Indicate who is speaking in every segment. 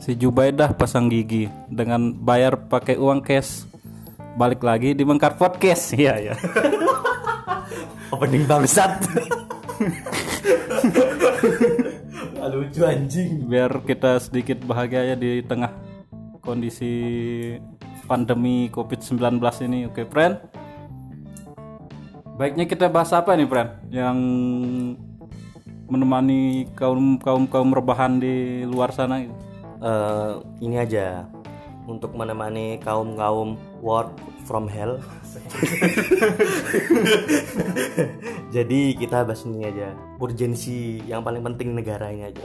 Speaker 1: si Jubaidah pasang gigi dengan bayar pakai uang cash. Balik lagi di Mengkar Podcast. Iya ya.
Speaker 2: Opening bangsat. Nggak lucu anjing.
Speaker 1: Biar kita sedikit bahagia ya di tengah kondisi pandemi COVID-19 ini. Oke, friend. Baiknya kita bahas apa nih, friend? Yang menemani kaum kaum kaum rebahan di luar sana gitu.
Speaker 2: Eh, ini aja untuk menemani kaum kaum work from hell. Jadi kita bahas ini aja urgensi yang paling penting negara ini aja.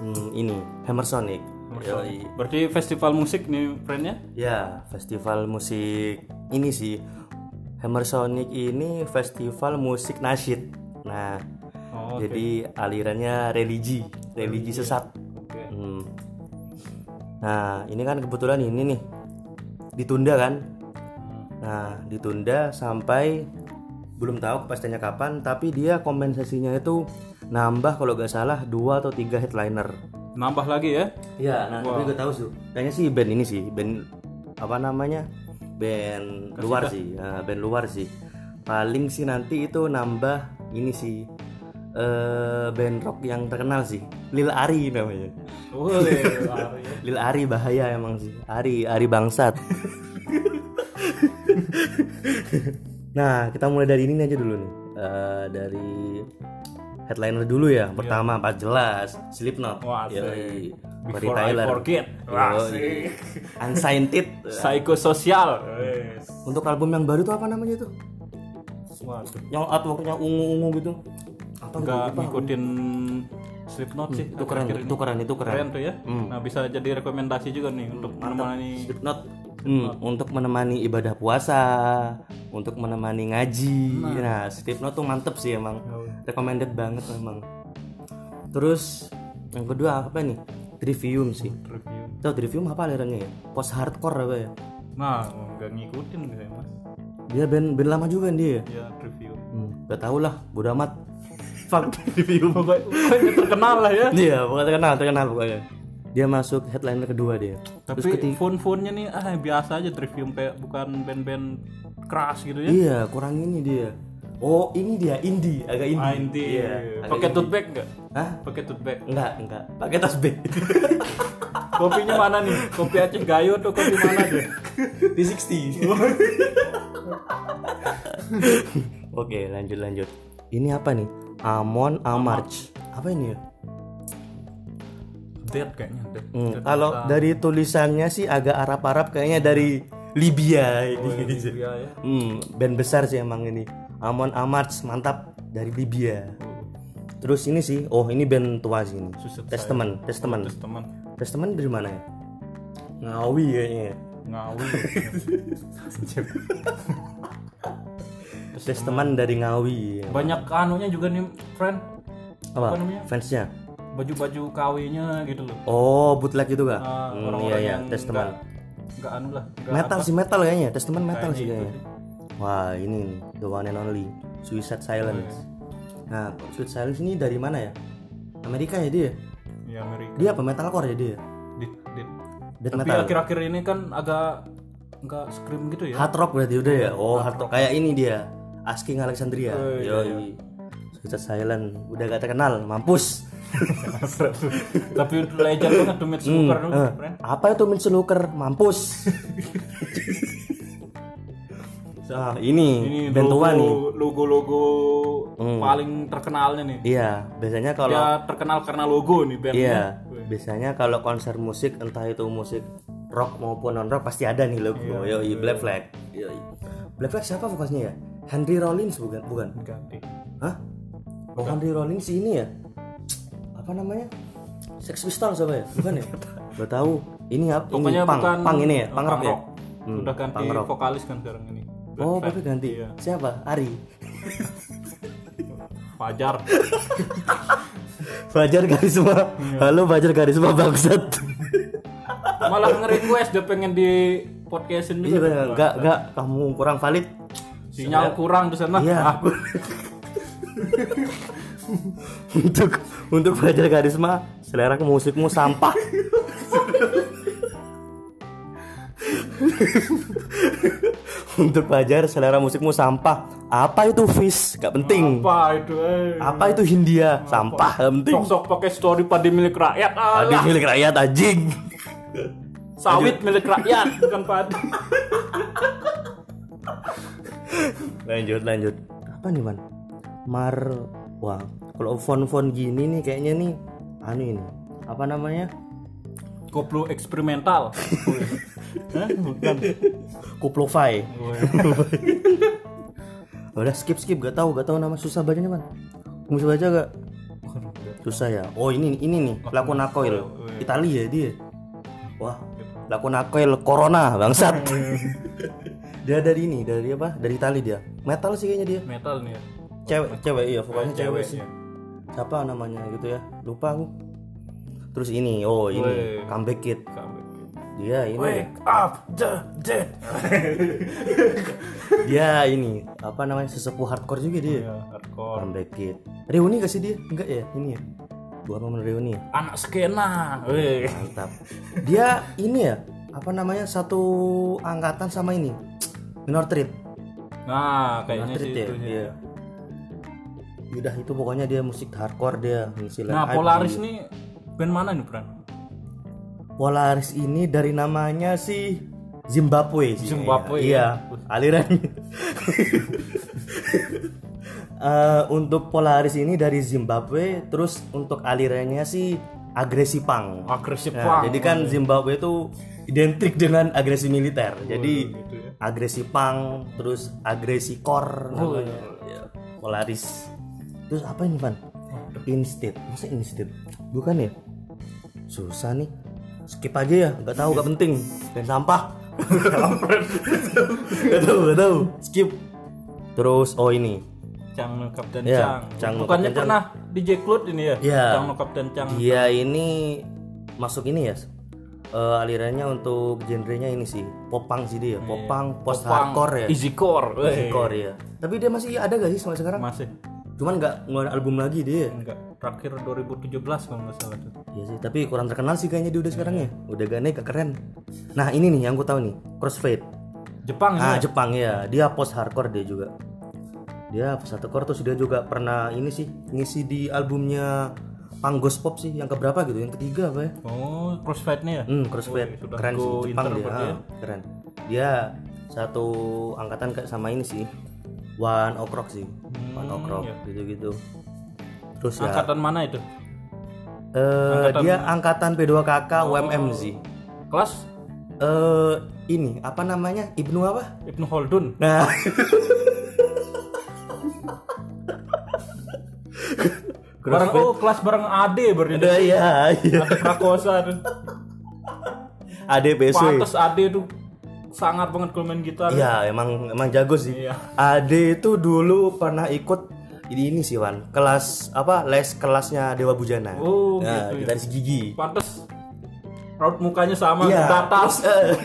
Speaker 2: Hmm, ini Hammer Sonic. Yoi.
Speaker 1: Berarti festival musik nih, friendnya?
Speaker 2: Ya, festival musik ini sih. Hammer Sonic ini festival musik nasyid. Nah,
Speaker 1: Oh,
Speaker 2: jadi alirannya religi, religi sesat. Hmm. Nah, ini kan kebetulan ini nih ditunda kan? Nah, ditunda sampai belum tahu pastinya kapan, tapi dia kompensasinya itu nambah kalau nggak salah dua atau tiga headliner.
Speaker 1: Nambah lagi ya.
Speaker 2: Iya, nah tapi gue tahu sih. Kayaknya sih band ini sih, band apa namanya? Band luar sih, Nah, band luar sih. Paling sih nanti itu nambah ini sih eh band rock yang terkenal sih, Lil Ari namanya. Lil Ari bahaya emang sih. Ari, Ari bangsat. nah, kita mulai dari ini aja dulu nih. Eh, dari headliner dulu ya. Pertama, pas jelas, Slipknot.
Speaker 1: Iya. Wah, asik.
Speaker 2: Yoi. Mary
Speaker 1: Before I
Speaker 2: Tyler.
Speaker 1: forget.
Speaker 2: Yoi. Unsighted.
Speaker 1: Psikososial.
Speaker 2: Untuk album yang baru tuh apa namanya tuh?
Speaker 1: Waduh.
Speaker 2: Yang artworknya ungu-ungu gitu. Apa
Speaker 1: Nggak ngikutin Slipknot sih.
Speaker 2: Hmm, itu keren,
Speaker 1: akhir-akhir
Speaker 2: itu keren, itu
Speaker 1: ini.
Speaker 2: keren. Hmm.
Speaker 1: Keren tuh ya. Nah, bisa jadi rekomendasi juga nih untuk menemani
Speaker 2: Slipknot Hmm, untuk menemani ibadah puasa, untuk menemani ngaji. Nah, Slipknot tuh mantep sih emang. Recommended banget emang. Terus yang kedua apa nih? Trivium sih.
Speaker 1: review.
Speaker 2: Tahu Trivium apa alirannya ya? Post hardcore apa ya?
Speaker 1: Nah, nggak ngikutin gitu ya, Mas.
Speaker 2: Dia band, band lama juga kan dia ya?
Speaker 1: Ya, review.
Speaker 2: Hmm, gak tau lah, bodo amat. Fuck Trivium.
Speaker 1: Pokoknya terkenal lah ya.
Speaker 2: Iya, pokoknya terkenal, terkenal pokoknya. Dia masuk headliner kedua dia. Terus
Speaker 1: Tapi
Speaker 2: ketiga,
Speaker 1: phone-phone-nya nih ah biasa aja review kayak bukan band-band keras gitu ya.
Speaker 2: iya kurang ini dia. Oh, ini dia indie, agak indie.
Speaker 1: Ah, inti.
Speaker 2: Iya, agak
Speaker 1: Pakai
Speaker 2: indie.
Speaker 1: tote bag enggak?
Speaker 2: Hah?
Speaker 1: Pakai tote bag.
Speaker 2: Enggak, enggak. Pakai tas B.
Speaker 1: Kopinya mana nih? Kopi Aceh Gayo atau kopi mana deh?
Speaker 2: T60. Oke, lanjut lanjut. Ini apa nih? Amon Amarch. Apa ini ya?
Speaker 1: Dead kayaknya. Dead.
Speaker 2: Hmm, Kalau dari tulisannya sih agak Arab-Arab kayaknya dari Libya ini.
Speaker 1: Iya ya.
Speaker 2: Hmm, band besar sih emang ini. Amon Amarch mantap dari Libya. Terus ini sih, oh ini band tua sih ini.
Speaker 1: Susah
Speaker 2: Testament, Testament.
Speaker 1: Terus teman
Speaker 2: Testament dari mana ya? Ngawi kayaknya. ya.
Speaker 1: ngawi.
Speaker 2: Testament dari Ngawi. ya.
Speaker 1: Banyak anunya juga nih, friend.
Speaker 2: Apa?
Speaker 1: Apa namanya?
Speaker 2: Fansnya?
Speaker 1: Baju-baju KW-nya gitu loh.
Speaker 2: Oh, bootleg gitu kah?
Speaker 1: Ah,
Speaker 2: Hmm,
Speaker 1: orang-orang
Speaker 2: iya iya,
Speaker 1: yang
Speaker 2: Testament.
Speaker 1: nggak- nggak anu lah. nggak
Speaker 2: Metal sih metal kayaknya, Testament metal
Speaker 1: Kayaknya
Speaker 2: sih
Speaker 1: itu
Speaker 2: kayaknya.
Speaker 1: sih.
Speaker 2: Wah, ini nih, the one and only Suicide Silence.
Speaker 1: Oh, iya.
Speaker 2: Nah, Suicide Silence ini dari mana ya? Amerika ya dia?
Speaker 1: Ya Amerika.
Speaker 2: Dia apa metalcore ya dia?
Speaker 1: Dead, dead.
Speaker 2: Death
Speaker 1: Tapi
Speaker 2: metal.
Speaker 1: akhir-akhir ini kan agak nggak scream gitu ya.
Speaker 2: Hard rock berarti udah ya? Oh, hard rock. Kayak ini dia. Asking Alexandria.
Speaker 1: Oh, iya,
Speaker 2: Yoi. Suicide Silent. Udah gak terkenal, mampus.
Speaker 1: Tapi legend banget tuh Mitch Cooper
Speaker 2: Hmm,
Speaker 1: dulu,
Speaker 2: eh.
Speaker 1: friend.
Speaker 2: Apa itu Mitch Luker? Mampus. nah, ini,
Speaker 1: Ini
Speaker 2: band tua nih. Hmm.
Speaker 1: logo- logo-logo paling terkenalnya nih.
Speaker 2: Iya, biasanya kalau
Speaker 1: Dia terkenal karena logo nih band.
Speaker 2: iya, biasanya kalau konser musik entah itu musik rock maupun non rock pasti ada nih logo.
Speaker 1: Iya,
Speaker 2: Yoi, Black Flag. Yoi. Black Flag siapa vokasnya ya? Henry Rollins bukan? Bukan.
Speaker 1: Ganti.
Speaker 2: Hah? Oh Henry Rollins si ini ya? Apa namanya? Sex Pistols apa ya? Bukan ya? Gak tahu. Ini apa? Ini
Speaker 1: Pokoknya
Speaker 2: pang,
Speaker 1: bukan eh,
Speaker 2: pang ini ya, pang rock ya.
Speaker 1: Udah ganti vokalis kan sekarang ini.
Speaker 2: Oh, tapi ganti.
Speaker 1: Iya.
Speaker 2: Siapa? Ari.
Speaker 1: Fajar.
Speaker 2: Fajar Karisma.
Speaker 1: Iya.
Speaker 2: Halo Fajar Karisma bangsat.
Speaker 1: Malah nge-request dia pengen di podcastin
Speaker 2: Iya
Speaker 1: juga.
Speaker 2: benar. Enggak, enggak kamu kurang valid.
Speaker 1: Sinyal kurang di sana.
Speaker 2: Iya.
Speaker 1: Ah,
Speaker 2: untuk untuk Fajar Karisma, selera musikmu sampah. Untuk pelajar selera musikmu sampah. Apa itu fish? Gak penting.
Speaker 1: Apa itu? eh?
Speaker 2: Apa itu Hindia? Sampah, gak penting.
Speaker 1: Sok-sok pakai story padi milik rakyat.
Speaker 2: Padi
Speaker 1: Alah,
Speaker 2: milik rakyat anjing.
Speaker 1: sawit milik rakyat bukan padi.
Speaker 2: lanjut, lanjut. Apa nih, Man? Mar Wah, kalau font-font gini nih kayaknya nih anu ini. Apa namanya?
Speaker 1: Koplo eksperimental. Hah? Bukan.
Speaker 2: Kuplofai. Ya Udah skip skip gak tahu gak tahu nama susah bacanya man. Kamu bisa baca gak? Susah ya. Oh ini ini nih lakon akoil. Italia ya dia. Wah lakon akoil corona bangsat. dia dari ini dari apa? Dari Italia dia. Metal sih kayaknya dia.
Speaker 1: Metal nih ya.
Speaker 2: Cewek cewek iya pokoknya cewek sih.
Speaker 1: ya.
Speaker 2: Siapa namanya gitu ya? Lupa aku. Terus ini oh ini
Speaker 1: Weh.
Speaker 2: comeback kid. ya? Dia ini.
Speaker 1: Wake up the dead.
Speaker 2: Dia ini apa namanya sesepuh hardcore juga dia.
Speaker 1: Ya, hardcore.
Speaker 2: Comeback Kid. Reuni gak sih dia? Enggak ya, ini ya. Dua momen reuni ya.
Speaker 1: Anak skena. Weh.
Speaker 2: Mantap. Dia ini ya, apa namanya? Satu angkatan sama ini. Minor Trip.
Speaker 1: Nah,
Speaker 2: Minor
Speaker 1: kayaknya sih
Speaker 2: Trip ya.
Speaker 1: itu.
Speaker 2: Iya. Udah itu pokoknya dia musik hardcore dia ngisi
Speaker 1: Nah, Polaris nih band mana nih, Bran?
Speaker 2: Polaris ini dari namanya sih Zimbabwe sih.
Speaker 1: Zimbabwe, ya.
Speaker 2: Iya, aliran. Eh, untuk Polaris ini dari Zimbabwe, terus untuk alirannya sih agresi pang.
Speaker 1: Agresif
Speaker 2: Nah,
Speaker 1: punk.
Speaker 2: jadi kan Zimbabwe itu identik dengan agresi militer. Jadi
Speaker 1: gitu ya. Oh,
Speaker 2: agresi pang, terus agresi kor namanya.
Speaker 1: iya.
Speaker 2: Ya, Polaris. Terus apa ini, Van? Instit. Masa instit? Bukan ya? Susah nih. Skip aja ya, nggak tahu nggak penting. Dan sampah. Nggak tahu, nggak tahu. Skip. Terus oh ini.
Speaker 1: Cang No Kapten Cang.
Speaker 2: Iya, Cang No
Speaker 1: Bukannya
Speaker 2: Kapten Cang.
Speaker 1: pernah DJ Cloud ini ya?
Speaker 2: Iya.
Speaker 1: Cang No Kapten Cang.
Speaker 2: Dia Iya, ini masuk ini ya. eh, alirannya untuk genrenya ini sih popang sih dia popang post hardcore ya
Speaker 1: Easy Core. Weh.
Speaker 2: hardcore ya tapi dia masih ada gak sih sampai sekarang
Speaker 1: Masih
Speaker 2: cuman nggak ngeluarin album lagi dia
Speaker 1: enggak terakhir 2017 kalau nggak salah tuh.
Speaker 2: Iya sih, tapi kurang terkenal sih kayaknya dia udah sekarang ya. Udah gak naik, gak keren. Nah ini nih yang gue tahu nih, Crossfade.
Speaker 1: Jepang
Speaker 2: Ah
Speaker 1: ya.
Speaker 2: Jepang ya, dia post hardcore dia juga. Dia post hardcore terus dia juga pernah ini sih ngisi di albumnya Panggos Pop sih yang keberapa gitu, yang ketiga apa ya?
Speaker 1: Oh, crossfit-nya ya?
Speaker 2: Hmm, Crossfade
Speaker 1: Woi, sudah
Speaker 2: keren sih
Speaker 1: go
Speaker 2: Jepang
Speaker 1: inter
Speaker 2: dia,
Speaker 1: berarti ya?
Speaker 2: ah, keren. Dia satu angkatan kayak sama ini sih, One Ok Rock sih, One Ok Rock gitu-gitu. Terus
Speaker 1: Hmm,
Speaker 2: ya,
Speaker 1: iya. Angkatan ya? mana itu?
Speaker 2: eh, dia angkatan P2KK
Speaker 1: Oh.
Speaker 2: UMM sih.
Speaker 1: Kelas
Speaker 2: eh ini apa namanya Ibnu apa?
Speaker 1: Ibnu Holdun.
Speaker 2: Nah,
Speaker 1: bareng oh, kelas bareng Ade berarti.
Speaker 2: udah ya, ya.
Speaker 1: Ade Prakosa tuh.
Speaker 2: ADPSW.
Speaker 1: Pantes Ade tuh sangat banget kalau main gitar.
Speaker 2: Ya emang emang jago sih.
Speaker 1: Iya.
Speaker 2: Ade itu dulu pernah ikut ini ini sih Wan kelas apa les kelasnya Dewa Bujana.
Speaker 1: Oh,
Speaker 2: nah,
Speaker 1: gitu ya.
Speaker 2: dari gigi.
Speaker 1: Pantes raut mukanya sama
Speaker 2: Iya.
Speaker 1: batas.
Speaker 2: Eh.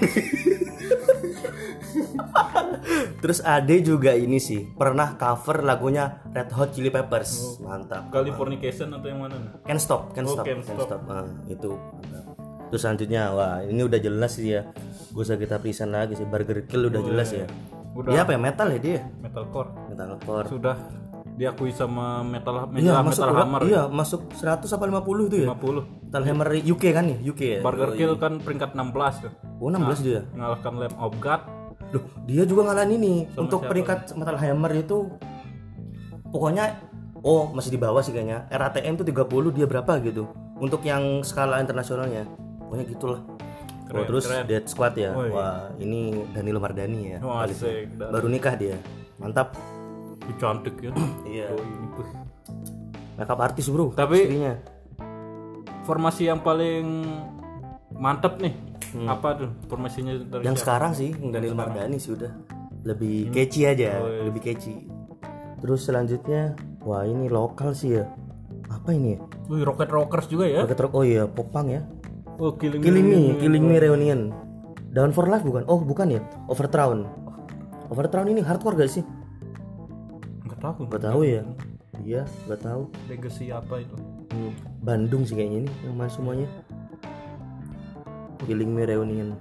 Speaker 2: Terus Ade juga ini sih pernah cover lagunya Red Hot Chili Peppers.
Speaker 1: Oh.
Speaker 2: Mantap.
Speaker 1: Californication atau yang mana? nah?
Speaker 2: Can stop, can stop,
Speaker 1: can
Speaker 2: can stop. Ah, itu. Terus selanjutnya, wah ini udah jelas sih ya. Gak usah kita perisan lagi sih. Burger Kill udah jelas
Speaker 1: Oh,
Speaker 2: ya.
Speaker 1: iya. Udah.
Speaker 2: Dia apa ya metal ya dia?
Speaker 1: Metalcore.
Speaker 2: Metalcore.
Speaker 1: Sudah diakui sama metal metal,
Speaker 2: Iya masuk
Speaker 1: metal hammer ya,
Speaker 2: iya masuk 100 apa 50 itu ya?
Speaker 1: 50.
Speaker 2: Metal Hammer UK kan ya? UK ya.
Speaker 1: Burger Ah. Kill kan peringkat 16 tuh.
Speaker 2: Oh 16 dia.
Speaker 1: Mengalahkan Lamb of God.
Speaker 2: Duh, dia juga ngalahin ini. Untuk peringkat Metal Hammer itu pokoknya oh masih di bawah sih kayaknya. RATM itu 30 dia berapa gitu. Untuk yang skala internasionalnya. Pokoknya gitulah. Oh, terus Dead Squad ya. Wah, ini Danilo Mardani ya.
Speaker 1: Wah,
Speaker 2: Kali-
Speaker 1: Oh, iya. asik. Dan
Speaker 2: Baru nikah dia. Mantap.
Speaker 1: cantik ya.
Speaker 2: Iya.
Speaker 1: Oh, ini, buh.
Speaker 2: Makeup artis, Bro.
Speaker 1: Tapi
Speaker 2: Istrinya.
Speaker 1: formasi yang paling mantep nih apa tuh formasinya dari
Speaker 2: Hmm. Oh, Yang sekarang Hmm. Oh, iya. sih Danilo Mardani sih udah lebih catchy aja, lebih catchy. Terus selanjutnya, wah ini lokal sih ya. Apa ini ya?
Speaker 1: Wih, Rocket Rockers juga ya
Speaker 2: Rocket Rock. Oh iya, Popang ya.
Speaker 1: oh killing,
Speaker 2: Killing Me, Killing Me Reunion. Down for Life bukan? Oh, bukan ya. Overthrown. Overthrown ini hardcore gak sih?
Speaker 1: nggak tahu
Speaker 2: Gak tahu ya. Iya, gak tahu.
Speaker 1: legacy apa itu
Speaker 2: Hmm, Bandung sih kayaknya ini yang main semuanya. Killing Me Reunion.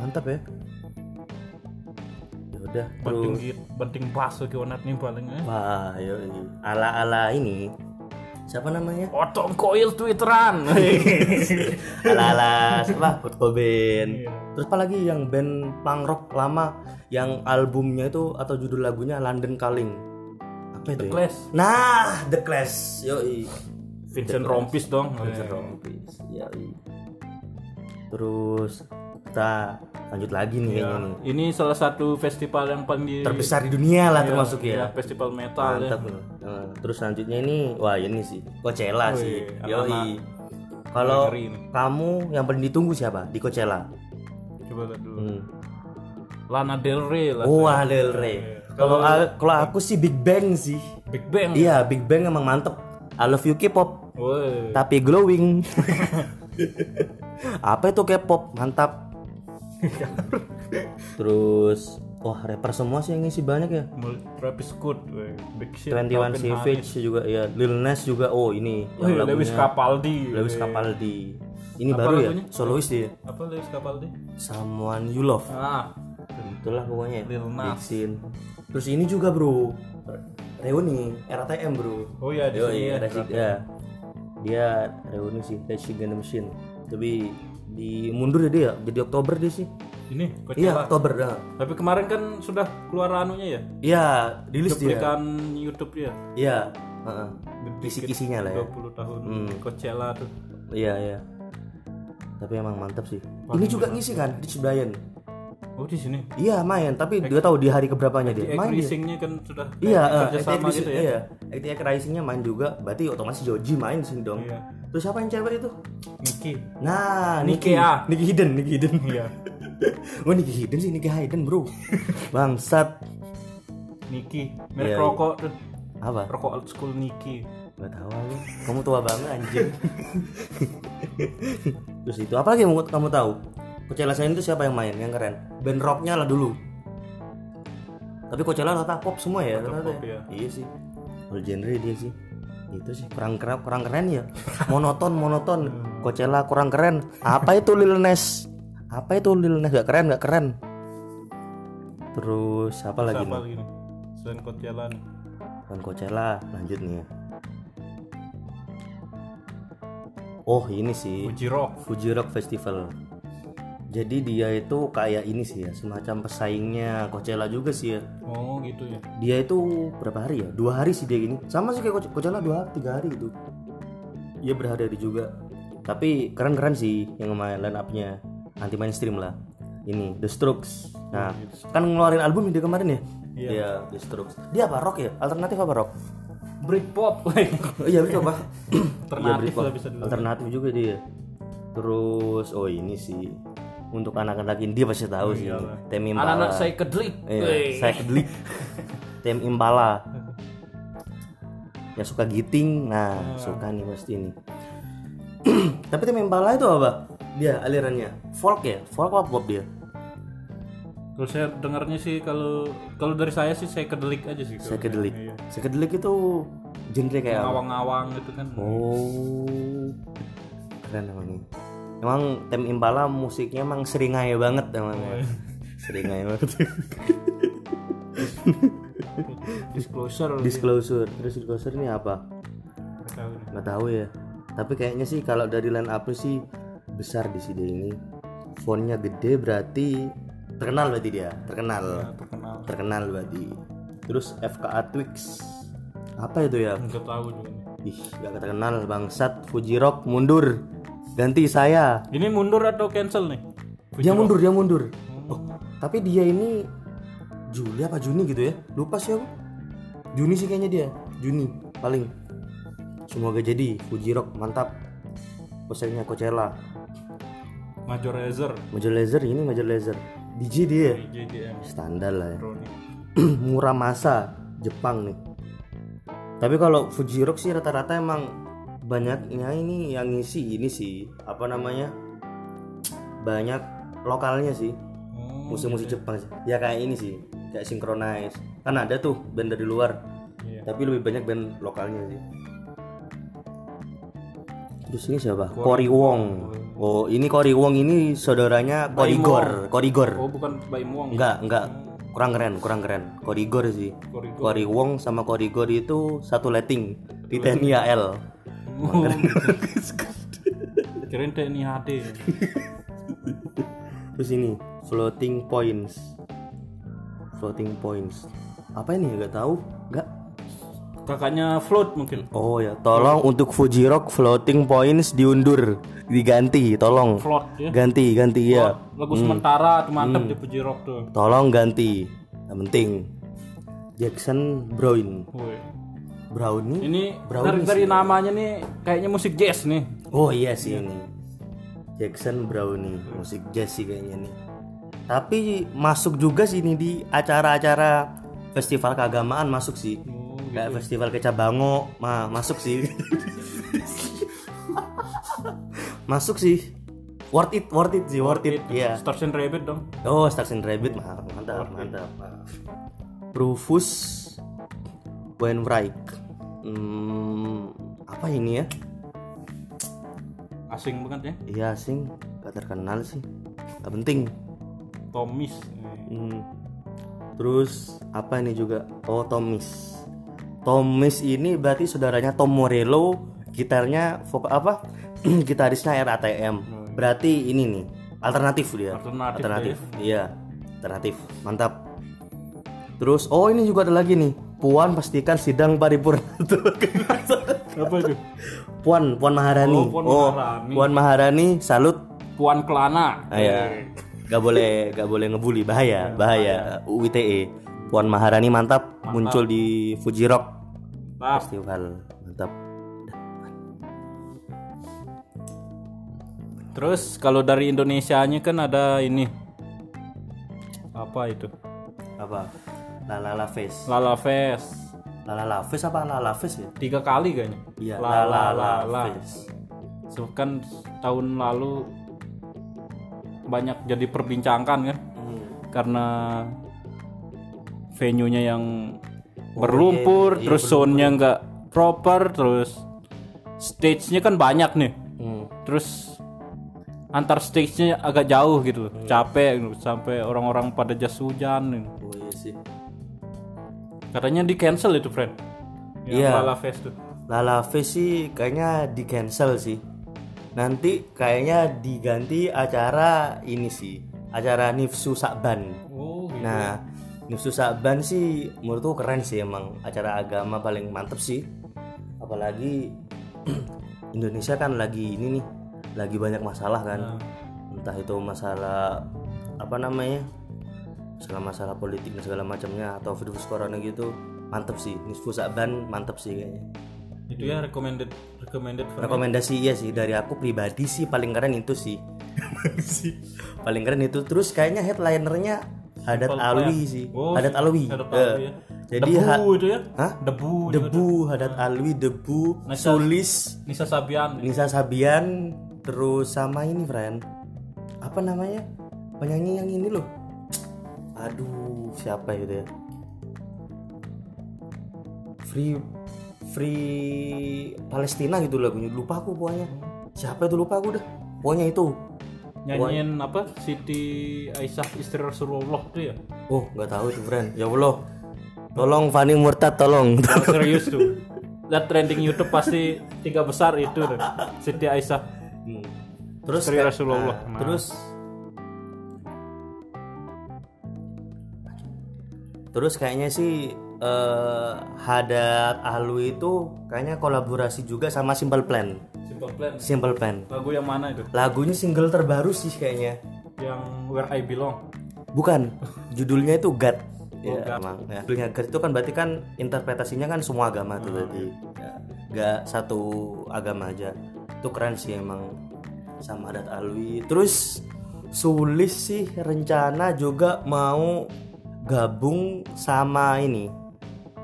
Speaker 2: Mantap ya. udah terus
Speaker 1: penting penting baso ke onat nih paling eh.
Speaker 2: wah yo ala ala ini siapa namanya
Speaker 1: Otong koil twitteran.
Speaker 2: ala ala siapa
Speaker 1: Iya.
Speaker 2: Kurt Cobain terus apalagi yang band punk rock lama yang albumnya itu atau judul lagunya London Calling apa
Speaker 1: The
Speaker 2: itu ya?
Speaker 1: Clash.
Speaker 2: nah The Clash yoi
Speaker 1: Vincent Rompis dong. Eh,
Speaker 2: Vincent Rompis yoi terus kita lanjut lagi nih
Speaker 1: ya.
Speaker 2: kayaknya nih.
Speaker 1: Ini salah satu festival yang paling di-
Speaker 2: Iya. terbesar di dunia lah
Speaker 1: Iya,
Speaker 2: termasuk ya
Speaker 1: iya, festival metal
Speaker 2: Mantap
Speaker 1: ya.
Speaker 2: loh. Nah, terus selanjutnya ini wah ini sih Coachella
Speaker 1: Wih,
Speaker 2: sih.
Speaker 1: apa-apa.
Speaker 2: Yoi. Kalau
Speaker 1: Ngeri ini.
Speaker 2: kamu yang paling ditunggu siapa di Coachella?
Speaker 1: Coba lihat dulu.
Speaker 2: Hmm.
Speaker 1: Lana Del Rey lah.
Speaker 2: Wah, Lil
Speaker 1: Iya.
Speaker 2: Rey. Kalau a- kalau aku sih Big Bang sih.
Speaker 1: Big Bang.
Speaker 2: Iya, Big Bang emang mantep. I love you K-pop,
Speaker 1: Woi.
Speaker 2: tapi glowing. Apa itu K-pop? Mantap. Terus wah rapper semua sih yang ngisi banyak ya.
Speaker 1: Mul- Travis Scott, weh. Big Shit,
Speaker 2: 21
Speaker 1: Iya, Calvin iya,
Speaker 2: Savage juga ya, Lil Nas juga. Oh, ini
Speaker 1: Harris. Wih, Lewis Capaldi.
Speaker 2: Lewis
Speaker 1: weh.
Speaker 2: Capaldi. Ini
Speaker 1: Iya. Apa
Speaker 2: baru
Speaker 1: lagunya?
Speaker 2: ya, solois dia.
Speaker 1: Apa Lewis Capaldi?
Speaker 2: Someone You Love.
Speaker 1: Ah,
Speaker 2: Itulah pokoknya.
Speaker 1: Lil Nas.
Speaker 2: Big scene. Terus ini juga, Bro. Reuni RATM, Bro.
Speaker 1: oh ya di
Speaker 2: Yo,
Speaker 1: sini
Speaker 2: iya,
Speaker 1: ya.
Speaker 2: Rashid- ya. Dia reuni sih, Rashid Gundam Shin. Tapi di mundur ya dia, jadi Oktober dia sih.
Speaker 1: Ini Coachella.
Speaker 2: Iya, Oktober dah.
Speaker 1: Tapi kemarin kan sudah keluar anunya ya.
Speaker 2: Iya, rilis dia.
Speaker 1: Cuplikan YouTube dia.
Speaker 2: Iya, heeh. Kisi-kisinya lah ya.
Speaker 1: 20 tahun Coachella tuh.
Speaker 2: Iya iya. Tapi emang mantap sih. ini juga ngisi kan Rich Brian.
Speaker 1: Oh di sini.
Speaker 2: Iya main, tapi dia tahu di hari keberapanya dia. Main dia.
Speaker 1: Racingnya kan sudah
Speaker 2: Iya, eh,
Speaker 1: kerjasama
Speaker 2: Active
Speaker 1: gitu ya.
Speaker 2: Iya, Active Rising-nya main juga. Berarti otomatis Joji main di sini dong.
Speaker 1: Iya.
Speaker 2: Terus siapa yang cewek itu?
Speaker 1: Niki.
Speaker 2: Nah,
Speaker 1: Nikki
Speaker 2: Niki.
Speaker 1: A.
Speaker 2: Niki Hidden, Niki Hidden.
Speaker 1: Iya.
Speaker 2: Oh, Niki Hidden sih, Niki Hidden, Bro. Bangsat.
Speaker 1: Niki. Merek
Speaker 2: Iya, iya.
Speaker 1: rokok tuh.
Speaker 2: Apa?
Speaker 1: Rokok old school Niki.
Speaker 2: Gak tahu aku. Kamu tua banget anjing. Terus itu apa lagi yang mau- kamu tahu? Coachella selain itu siapa yang main? Yang keren. Band rocknya lah dulu. Tapi Coachella rata pop semua ya. rata-rata
Speaker 1: pop ya.
Speaker 2: Iya sih. All genre dia sih. Itu sih kurang keren, kurang keren ya. Monoton, monoton. Coachella kurang keren. Apa itu Lil Nas? Apa itu Lil Nas? Gak keren, gak keren. Terus apa lagi?
Speaker 1: Siapa
Speaker 2: nih?
Speaker 1: lagi nih? Selain Coachella nih.
Speaker 2: Bukan Coachella, lanjut nih ya. Oh ini sih
Speaker 1: Fuji Rock.
Speaker 2: Fuji Rock Festival. Jadi dia itu kayak ini sih ya, semacam pesaingnya Coachella juga sih ya.
Speaker 1: Oh gitu ya.
Speaker 2: Dia itu berapa hari ya? Dua hari sih dia gini. Sama sih kayak Coach- Coachella dua hari, tiga hari gitu. Dia berhari hari juga. Tapi keren-keren sih yang main line up-nya. Anti mainstream lah. Ini The Strokes. Nah, kan ngeluarin album dia kemarin ya? Iya, The Strokes. Dia apa rock ya? Alternatif apa rock?
Speaker 1: Britpop.
Speaker 2: Oh, iya betul pak
Speaker 1: Alternatif
Speaker 2: Iya, Britpop.
Speaker 1: lah bisa dulu.
Speaker 2: alternatif juga dia terus oh ini sih untuk anak-anak India pasti tahu sih ini. Tem
Speaker 1: Oh
Speaker 2: Impala
Speaker 1: iya Anak-anak psychedelic.
Speaker 2: Iya, psychedelic. Tem Impala yang suka giting nah
Speaker 1: Hmm.
Speaker 2: suka nih pasti ini tapi Tem Impala itu apa dia alirannya folk ya folk apa pop dia
Speaker 1: Iya, Terus saya dengarnya sih kalau kalau dari saya sih psychedelic aja sih. kalau
Speaker 2: psychedelic
Speaker 1: saya. Iya.
Speaker 2: psychedelic itu genre kayak apa?
Speaker 1: Awang-awang gitu kan.
Speaker 2: Oh, keren emang ini. Emang Tem Impala musiknya emang seringai banget emang. ya. seringai banget.
Speaker 1: Disclosure.
Speaker 2: disclosure, terus disclosure ini apa?
Speaker 1: Nggak tahu nih.
Speaker 2: Nggak tahu ya. Tapi kayaknya sih kalau dari line up sih besar di sini ini. Fontnya gede berarti terkenal berarti dia, terkenal.
Speaker 1: Nggak terkenal.
Speaker 2: Terkenal berarti. Terus FKA Twix. Apa itu ya?
Speaker 1: Nggak tahu juga. nih.
Speaker 2: Ih, gak terkenal bangsat Fuji Rock mundur. Ganti saya.
Speaker 1: Ini mundur atau cancel nih?
Speaker 2: dia mundur dia mundur oh, tapi dia ini Juli apa Juni gitu ya lupa sih aku Juni sih kayaknya dia Juni paling semoga jadi Fuji Rock mantap pesaingnya Coachella
Speaker 1: Major Lazer.
Speaker 2: Major Lazer ini Major Lazer DJ dia
Speaker 1: JDM.
Speaker 2: standar lah ya
Speaker 1: Brownie.
Speaker 2: murah masa Jepang nih tapi kalau Fuji Rock sih rata-rata emang banyaknya ini yang ngisi ini sih apa namanya banyak lokalnya sih
Speaker 1: Oh,
Speaker 2: musik-musik Jepang sih. ya kayak ini sih kayak synchronize kan ada tuh band dari luar
Speaker 1: Iya.
Speaker 2: tapi lebih banyak band lokalnya sih terus ini siapa Cory Wong oh ini Cory Wong ini saudaranya Korigor Korigor
Speaker 1: oh bukan Baim Wong.
Speaker 2: enggak enggak kurang keren kurang keren Korigor sih
Speaker 1: Korigor.
Speaker 2: Kori Wong sama Korigor itu satu letting di TNI AL
Speaker 1: Oh. Kirain TNI HD.
Speaker 2: terus ini floating points floating points apa ini nggak tahu nggak
Speaker 1: Kakaknya float mungkin.
Speaker 2: oh ya tolong untuk Fuji Rock floating points diundur diganti tolong
Speaker 1: Float ya.
Speaker 2: ganti ganti ya
Speaker 1: Lagu sementara tuh
Speaker 2: Hmm.
Speaker 1: mantep di Puji Rock tuh.
Speaker 2: tolong ganti yang penting Jackson Brown
Speaker 1: Woi.
Speaker 2: Brownie
Speaker 1: Ini dari,
Speaker 2: Brownies
Speaker 1: dari namanya nih kayaknya musik jazz nih.
Speaker 2: Oh iya sih ini Jackson Brownie musik jazz sih kayaknya nih. Tapi masuk juga sih ini di acara-acara festival keagamaan masuk sih. Kayak festival kecap bango, mah masuk sih. masuk sih. Worth it, worth it sih, worth it. Iya.
Speaker 1: Gitu. Stars and Rabbit dong.
Speaker 2: Oh, Stars and Rabbit mah mantap, mantap. Rufus Wainwright. Hmm, apa ini ya?
Speaker 1: Asing banget ya.
Speaker 2: Iya sing, gak terkenal sih. Gak penting.
Speaker 1: Tomis.
Speaker 2: Hmm. Terus apa ini juga? Oh Tomis. Tomis ini berarti saudaranya Tom Morello, gitarnya vokal apa? Gitarisnya RATM. Berarti ini nih alternatif dia.
Speaker 1: Alternatif ya?
Speaker 2: Iya, alternatif. Mantap. Terus oh ini juga ada lagi nih. Puan pastikan sidang paripurna
Speaker 1: Apa itu?
Speaker 2: Puan Puan Maharani.
Speaker 1: Oh, Puan Maharani.
Speaker 2: Puan Maharani salut.
Speaker 1: Puan Kelana.
Speaker 2: Ah, ya. Gak boleh gak boleh ngebully bahaya Iya, bahaya UITE. E. Puan Maharani mantap, muncul di Fuji Rock
Speaker 1: Nah,
Speaker 2: Festival mantap.
Speaker 1: terus kalau dari Indonesianya kan ada ini. Apa itu?
Speaker 2: Apa? Lalala Face.
Speaker 1: Lala Fest.
Speaker 2: Lalala Face apa Lala Face ya?
Speaker 1: Tiga kali kayaknya.
Speaker 2: Iya,
Speaker 1: Lala
Speaker 2: Lalala
Speaker 1: Lala.
Speaker 2: Face.
Speaker 1: So, kan tahun lalu banyak jadi perbincangan kan karena venue-nya yang iya, berlumpur, terus sound-nya nggak proper, terus stage-nya kan banyak nih,
Speaker 2: Hmm.
Speaker 1: terus antar stage-nya agak jauh gitu, loh. capek gitu, sampai orang-orang pada jas hujan. gitu.
Speaker 2: Oh iya sih.
Speaker 1: Katanya di cancel itu, friend.
Speaker 2: Iya.
Speaker 1: Yang Lala Fest tuh.
Speaker 2: Lala Face sih kayaknya di cancel sih. Nanti kayaknya diganti acara ini sih. Acara Nifsu Sakban.
Speaker 1: Oh, gitu.
Speaker 2: Nah, Nusu Saban sih menurutku keren sih emang acara agama paling mantep sih. Apalagi Indonesia kan lagi ini nih, lagi banyak masalah kan. Entah itu masalah apa namanya? Masalah-masalah politik dan segala macamnya atau virus corona gitu. Mantep sih, Nusu Saban mantep sih kayaknya.
Speaker 1: itu ya recommended recommended friend.
Speaker 2: Rekomendasi iya sih dari aku pribadi sih paling keren itu sih. Sih. paling keren itu terus kayaknya headlinernya Hadat Alwi sih.
Speaker 1: Oh,
Speaker 2: Hadat
Speaker 1: si-
Speaker 2: Alwi.
Speaker 1: Hadat
Speaker 2: Eh,
Speaker 1: Alwi ya.
Speaker 2: Jadi
Speaker 1: debu
Speaker 2: ha-
Speaker 1: itu ya?
Speaker 2: Hah?
Speaker 1: Debu.
Speaker 2: Debu Hadat Alwi, Debu,
Speaker 1: Nisa-
Speaker 2: Sulis,
Speaker 1: Nisa Sabian.
Speaker 2: Nisa Sabian, terus sama ini, Fren. Apa namanya? Penyanyi yang ini loh. Aduh, siapa itu ya? Free Free Palestina gitu lagunya. Lupa aku pokoknya. Siapa itu lupa aku dah. Pokoknya itu.
Speaker 1: Nyanyiin apa? Siti Aisyah istri Rasulullah tuh ya.
Speaker 2: Oh, nggak tahu tuh, Fren. Ya Allah. Tolong Fani Murtad tolong.
Speaker 1: Serius tuh. Lihat trending YouTube pasti tiga besar itu tuh. Siti Aisyah
Speaker 2: Hmm. Terus
Speaker 1: istri
Speaker 2: kayak-
Speaker 1: Rasulullah.
Speaker 2: Nah,
Speaker 1: Nah,
Speaker 2: terus terus kayaknya sih eh, Hadat Alwi itu kayaknya kolaborasi juga sama Simple Plan.
Speaker 1: Simple Plan.
Speaker 2: Simple Plan.
Speaker 1: Lagu yang mana itu?
Speaker 2: Lagunya single terbaru sih kayaknya.
Speaker 1: Yang Where I Belong.
Speaker 2: Bukan, judulnya itu God. Ya,
Speaker 1: Oh, God.
Speaker 2: emang. Ya, Judulnya God itu kan berarti kan interpretasinya kan semua agama tuh berarti. Ya, Nggak satu agama aja. Itu keren sih emang sama Adat Alwi. Terus Sulis sih rencana juga mau gabung sama ini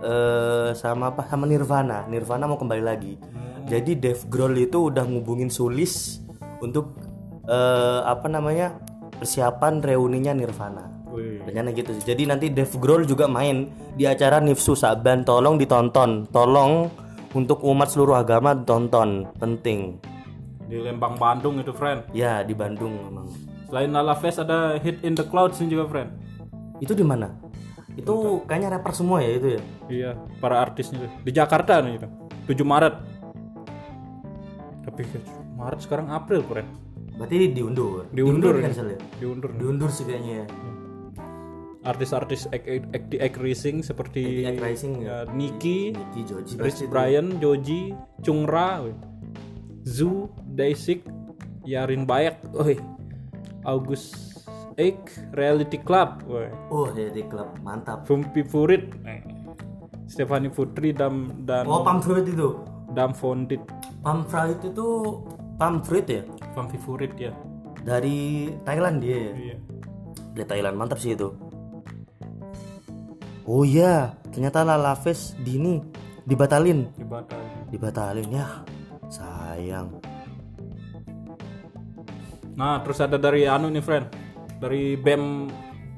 Speaker 2: eh sama apa sama Nirvana. Nirvana mau kembali lagi. Jadi Dave Grohl itu udah ngubungin Sulis untuk eh, apa namanya persiapan reuninya Nirvana.
Speaker 1: Wih.
Speaker 2: Rencana gitu sih. Jadi nanti Dave Grohl juga main di acara Nifsu Saban. Tolong ditonton. Tolong untuk umat seluruh agama tonton. Penting.
Speaker 1: Di Lembang Bandung itu, friend.
Speaker 2: Ya di Bandung memang.
Speaker 1: Selain Lala Fest ada Hit in the Clouds ini juga, friend.
Speaker 2: Itu di mana? itu kayaknya rapper semua ya itu ya
Speaker 1: Iya, para artisnya tuh. Di Jakarta nih itu. 7 Maret. Tapi ke- Maret sekarang April, Pren.
Speaker 2: berarti diundur
Speaker 1: Diundur ya.
Speaker 2: cancel ya
Speaker 1: Diundur. nih.
Speaker 2: diundur sih kayaknya ya.
Speaker 1: Artis-artis di Egg Racing seperti
Speaker 2: Act Rising ya
Speaker 1: ya, Nicky,
Speaker 2: Nicky Joji
Speaker 1: Rich Brian, Joji, Chungra, weh. Zu, Daisik, Yarin Bayak, weh. August Egg, Reality Club, weh.
Speaker 2: oh ya di klub mantap
Speaker 1: Fumpi Furit, eh. Stefani Putri dan dan
Speaker 2: oh Pam Fruit itu
Speaker 1: dan Fondit.
Speaker 2: Pam Fruit itu Pam Fruit ya
Speaker 1: Fumpi Furit ya.
Speaker 2: dari Thailand dia ya
Speaker 1: Iya.
Speaker 2: dari Thailand mantap sih itu oh iya ternyata Lala Face Dini dibatalin
Speaker 1: Di Batam.
Speaker 2: dibatalin ya sayang
Speaker 1: Nah, terus ada dari anu nih, friend. Dari E BEM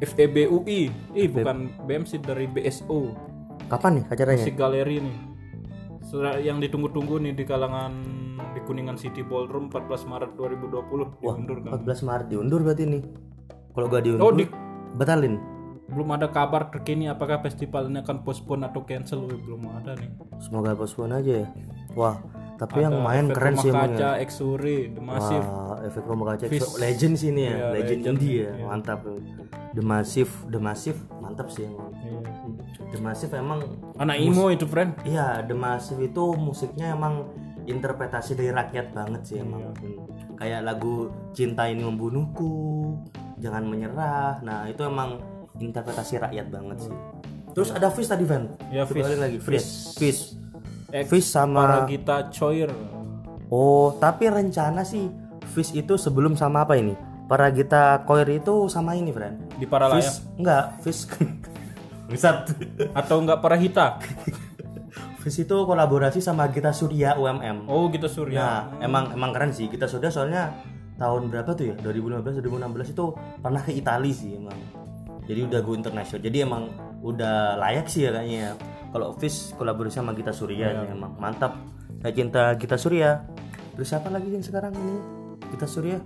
Speaker 1: FEB UI. Ih, bukan BEM sih dari BSO.
Speaker 2: kapan nih acaranya
Speaker 1: Si galeri nih. Sudah- Yang ditunggu-tunggu nih di kalangan di Kuningan City Ballroom 14 Maret 2020 diundur kan.
Speaker 2: 14 Maret diundur berarti nih kalau gak diundur
Speaker 1: Oh, di-
Speaker 2: batalin
Speaker 1: belum ada kabar terkini apakah festival ini akan postpone atau cancel. Wih, belum ada nih.
Speaker 2: semoga postpone aja ya wah tapi yang main
Speaker 1: Efek
Speaker 2: Kan
Speaker 1: E
Speaker 2: keren
Speaker 1: Rumah
Speaker 2: sih emang ya.
Speaker 1: Kaca, Exuri, The Massive.
Speaker 2: Wah, efek rumah kaca
Speaker 1: Fish.
Speaker 2: So, legend sih ini ya
Speaker 1: Iya,
Speaker 2: legend,
Speaker 1: legend,
Speaker 2: India mantap The Massive The Massive mantap sih emang
Speaker 1: Iya.
Speaker 2: The Massive emang
Speaker 1: Anak Imo itu, friend.
Speaker 2: Iya, The Massive itu musiknya emang interpretasi dari rakyat banget sih emang. Kayak lagu Cinta Ini Membunuhku, Jangan Menyerah. Nah, itu emang interpretasi rakyat banget sih. Terus ada Fish tadi, Van.
Speaker 1: Ya,
Speaker 2: Coba
Speaker 1: Fish.
Speaker 2: balik lagi.
Speaker 1: Fish.
Speaker 2: Fish. Fish.
Speaker 1: Ex
Speaker 2: Fish sama
Speaker 1: Eh, Paragita Choir.
Speaker 2: Oh, tapi rencana sih Fish itu sebelum sama apa ini? Paragita Koir itu sama ini, Fran.
Speaker 1: Di Paralayang.
Speaker 2: Fish enggak, Fish. Wisat.
Speaker 1: Atau enggak Parahita?
Speaker 2: Fish itu kolaborasi sama Gita Surya UMM.
Speaker 1: Oh, kita Surya.
Speaker 2: Nah, emang emang keren sih. Kita sudah soalnya tahun berapa tuh ya? 2015 2016 itu pernah ke Italia sih emang. Jadi udah go internasional. Jadi emang udah layak sih ya kayaknya. ya. Kalau Fish kolaborasi sama kita Surya ini emang mantap. Saya cinta kita Surya. Terus siapa lagi yang sekarang ini? Kita Surya?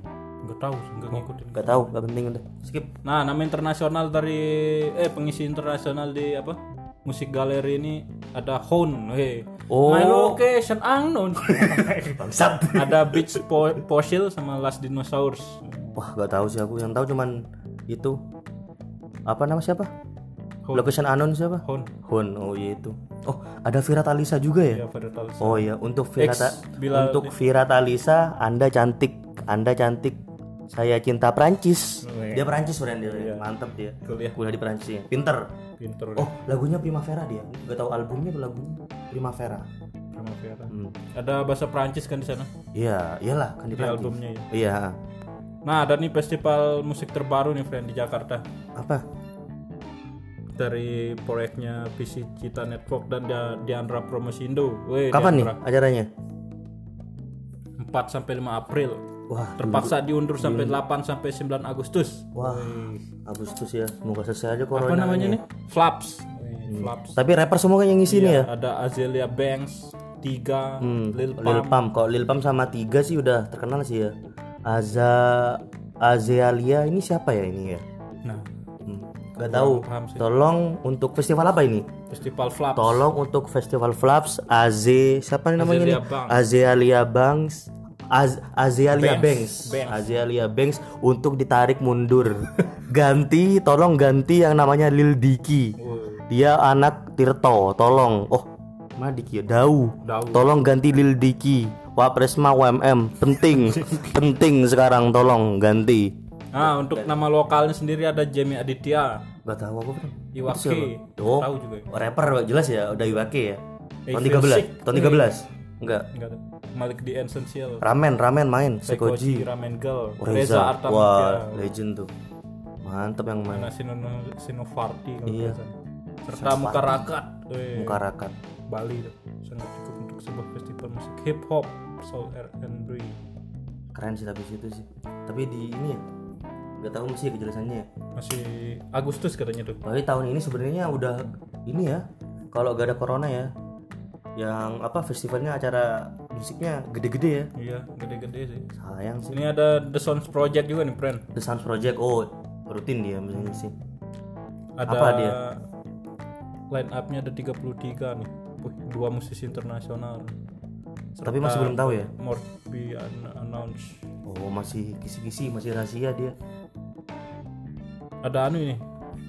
Speaker 1: Gak tahu, sih, nggak ngikutin.
Speaker 2: Gak tahu, gak penting udah. Skip.
Speaker 1: Nah, nama internasional dari eh pengisi internasional di apa? Musik galeri ini ada Hon, hey.
Speaker 2: Oh.
Speaker 1: My location unknown.
Speaker 2: Bangsat.
Speaker 1: ada Beach Po- Posil sama Last Dinosaurs.
Speaker 2: Wah, gak tahu sih aku. Yang tahu cuman itu apa nama siapa?
Speaker 1: Hon.
Speaker 2: Location anon siapa?
Speaker 1: Hon.
Speaker 2: Hon. Oh iya itu. Oh, ada Vira Talisa juga
Speaker 1: Ya,
Speaker 2: ya?
Speaker 1: pada tahu.
Speaker 2: Oh iya, untuk Vira
Speaker 1: Ex,
Speaker 2: Ta-
Speaker 1: Bilal-
Speaker 2: untuk Vira Talisa, Anda cantik, Anda cantik. Saya cinta Prancis.
Speaker 1: Oh, iya.
Speaker 2: Dia Prancis friend dia, mantep dia.
Speaker 1: Kuliah.
Speaker 2: Kuliah di Prancis, ya. pinter.
Speaker 1: Pinter
Speaker 2: Oh, lagunya Primavera dia. Gak tahu albumnya apa lagunya Primavera. Hmm.
Speaker 1: Primavera. Ada bahasa Prancis kan di sana
Speaker 2: Iya, iyalah kan
Speaker 1: di
Speaker 2: di Prancis.
Speaker 1: albumnya ya.
Speaker 2: Iya.
Speaker 1: Nah, ada nih festival musik terbaru nih friend di Jakarta
Speaker 2: Apa?
Speaker 1: dari proyeknya PC Cita Network dan Dia- Diandra Promosindo. Weh,
Speaker 2: Kapan nih
Speaker 1: Diandra.
Speaker 2: acaranya?
Speaker 1: 4 sampai 5 April.
Speaker 2: Wah,
Speaker 1: Terpaksa diundur sampai 8 sampai 9 Agustus.
Speaker 2: wah. Agustus ya, semoga selesai aja
Speaker 1: Apa
Speaker 2: corona.
Speaker 1: namanya nih? Flaps. Flaps. Iya,
Speaker 2: Tapi rapper semua yang ngisi nih ya. Hmm,
Speaker 1: Ada Azealia Banks, Tiga, Lil
Speaker 2: Lil
Speaker 1: Pump.
Speaker 2: Pam, kok Lil Pam sama tiga sih udah terkenal sih ya. Aza Azealia ini siapa ya ini ya?
Speaker 1: Nah,
Speaker 2: Hmm, Gak tahu.
Speaker 1: paham sih.
Speaker 2: Tolong untuk festival apa ini?
Speaker 1: festival Flaps.
Speaker 2: Tolong untuk festival Flaps Az siapa nih
Speaker 1: Azealia
Speaker 2: namanya nih?
Speaker 1: Banks.
Speaker 2: Azealia Banks. Az Azealia
Speaker 1: Banks.
Speaker 2: Banks.
Speaker 1: Banks.
Speaker 2: Azealia Banks untuk ditarik mundur. ganti, tolong ganti yang namanya Lil Diki.
Speaker 1: Woi,
Speaker 2: Dia anak Tirto, tolong. Oh, mana Diki? ya? Dau.
Speaker 1: Dau.
Speaker 2: Tolong ganti Lil Diki. Wapresma UMM penting, penting sekarang tolong ganti.
Speaker 1: Nah, untuk nama lokalnya sendiri ada Jamie Aditya,
Speaker 2: Gak tahu aku Bro. Itu
Speaker 1: Iwaki.
Speaker 2: siapa? Oh,
Speaker 1: Tahu juga. ya?
Speaker 2: rapper jelas ya udah Iwake ya tahun
Speaker 1: April
Speaker 2: 13 tahun 13 enggak
Speaker 1: Enggak tahu. Malik The Essential,
Speaker 2: ramen ramen main Sekoji
Speaker 1: Koji Ramen Girl, Reza
Speaker 2: Reza wah
Speaker 1: Artamevia,
Speaker 2: legend tuh mantep yang main
Speaker 1: Nah, Sino- Sinovarti kalau
Speaker 2: Iya.
Speaker 1: nggak salah. serta Mukarakat. Weh.
Speaker 2: muka rakat
Speaker 1: Bali tuh. sangat cukup untuk sebuah festival musik hip hop, soul R&B.
Speaker 2: keren sih tapi situ sih tapi di ini ya nggak tahu masih kejelasannya ya
Speaker 1: Masih Agustus katanya tuh.
Speaker 2: tapi tahun ini sebenarnya udah ini ya kalau gak ada corona ya yang apa festivalnya acara musiknya gede-gede ya
Speaker 1: Iya, gede-gede sih.
Speaker 2: sayang sih
Speaker 1: Ini ada The Sounds Project juga nih, friend.
Speaker 2: The Sounds Project oh rutin dia misalnya sih
Speaker 1: Ada
Speaker 2: Apa dia?
Speaker 1: line up-nya ada 33 nih. Wih, dua musisi internasional.
Speaker 2: Tapi masih belum tahu ya?
Speaker 1: Morbi an- announce.
Speaker 2: Oh masih kisi-kisi masih rahasia dia.
Speaker 1: Ada anu ini,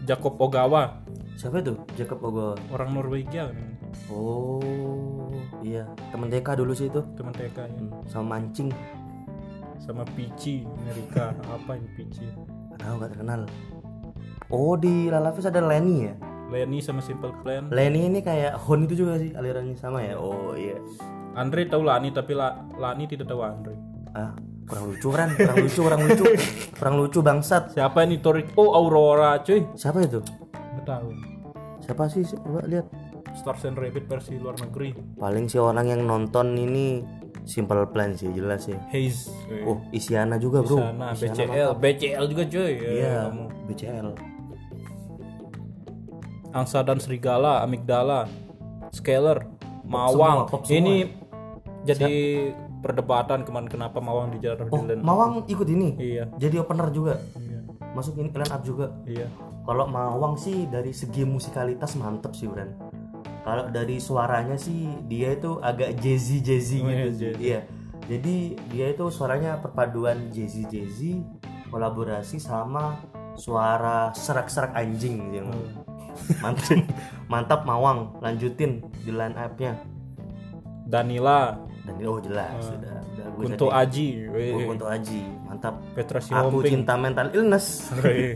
Speaker 1: Jacob Ogawa,
Speaker 2: Siapa itu? Jacob Ogo.
Speaker 1: orang Norwegia nih,
Speaker 2: Oh iya temen TK dulu sih itu Hmm,
Speaker 1: teman TK ya.
Speaker 2: sama mancing.
Speaker 1: Sama Pici Amerika, apa ini Pici?
Speaker 2: Gak tahu gak terkenal. Oh di Lalafis ada Lenny ya.
Speaker 1: Lenny sama Simple Plan.
Speaker 2: Lenny ini kayak Hon itu juga sih alirannya sama ya. Oh iya.
Speaker 1: Andre tahu Lani tapi La- Lani tidak tahu Andre.
Speaker 2: Ah kurang lucu kan? Kurang lucu, kurang lucu, kurang lucu bangsat.
Speaker 1: Siapa ini Torik? Oh Aurora cuy.
Speaker 2: Siapa itu?
Speaker 1: Nggak tahu.
Speaker 2: Siapa sih? Coba lihat.
Speaker 1: Stars and Rabbit versi luar negeri.
Speaker 2: Paling si orang yang nonton ini Simple Plan sih jelas ya.
Speaker 1: Haze.
Speaker 2: Oh Isyana juga bro.
Speaker 1: Sana BCL, BCL juga cuy. Ya,
Speaker 2: Iya,
Speaker 1: kamu.
Speaker 2: BCL.
Speaker 1: Angsa dan Serigala, Amigdala, Scalar, Mawang.
Speaker 2: semua, pop semua. ya.
Speaker 1: ini jadi perdebatan kemarin kenapa Mawang dijarah di line.
Speaker 2: Oh, Mawang ikut ini.
Speaker 1: Iya,
Speaker 2: Jadi opener juga.
Speaker 1: iya,
Speaker 2: Masuk ini line up juga.
Speaker 1: iya.
Speaker 2: Kalau Mawang sih dari segi musikalitas mantep sih, Bran. Kalau dari suaranya sih dia itu agak jazzy jazzy
Speaker 1: Oh,
Speaker 2: gitu
Speaker 1: iya,
Speaker 2: sih.
Speaker 1: jazzy.
Speaker 2: Iya. Jadi dia itu suaranya perpaduan jazzy jazzy kolaborasi sama suara serak-serak anjing gitu.
Speaker 1: Oh.
Speaker 2: Mantap. Mantap Mawang, lanjutin di line up-nya.
Speaker 1: Danila,
Speaker 2: Dan oh jelas sudah udah gue
Speaker 1: Kunto Aji,
Speaker 2: jadi-
Speaker 1: weh.
Speaker 2: gue Oh, Kunto Aji, mantap.
Speaker 1: Petra
Speaker 2: Aku
Speaker 1: Sihombing.
Speaker 2: cinta mental illness.
Speaker 1: Weh.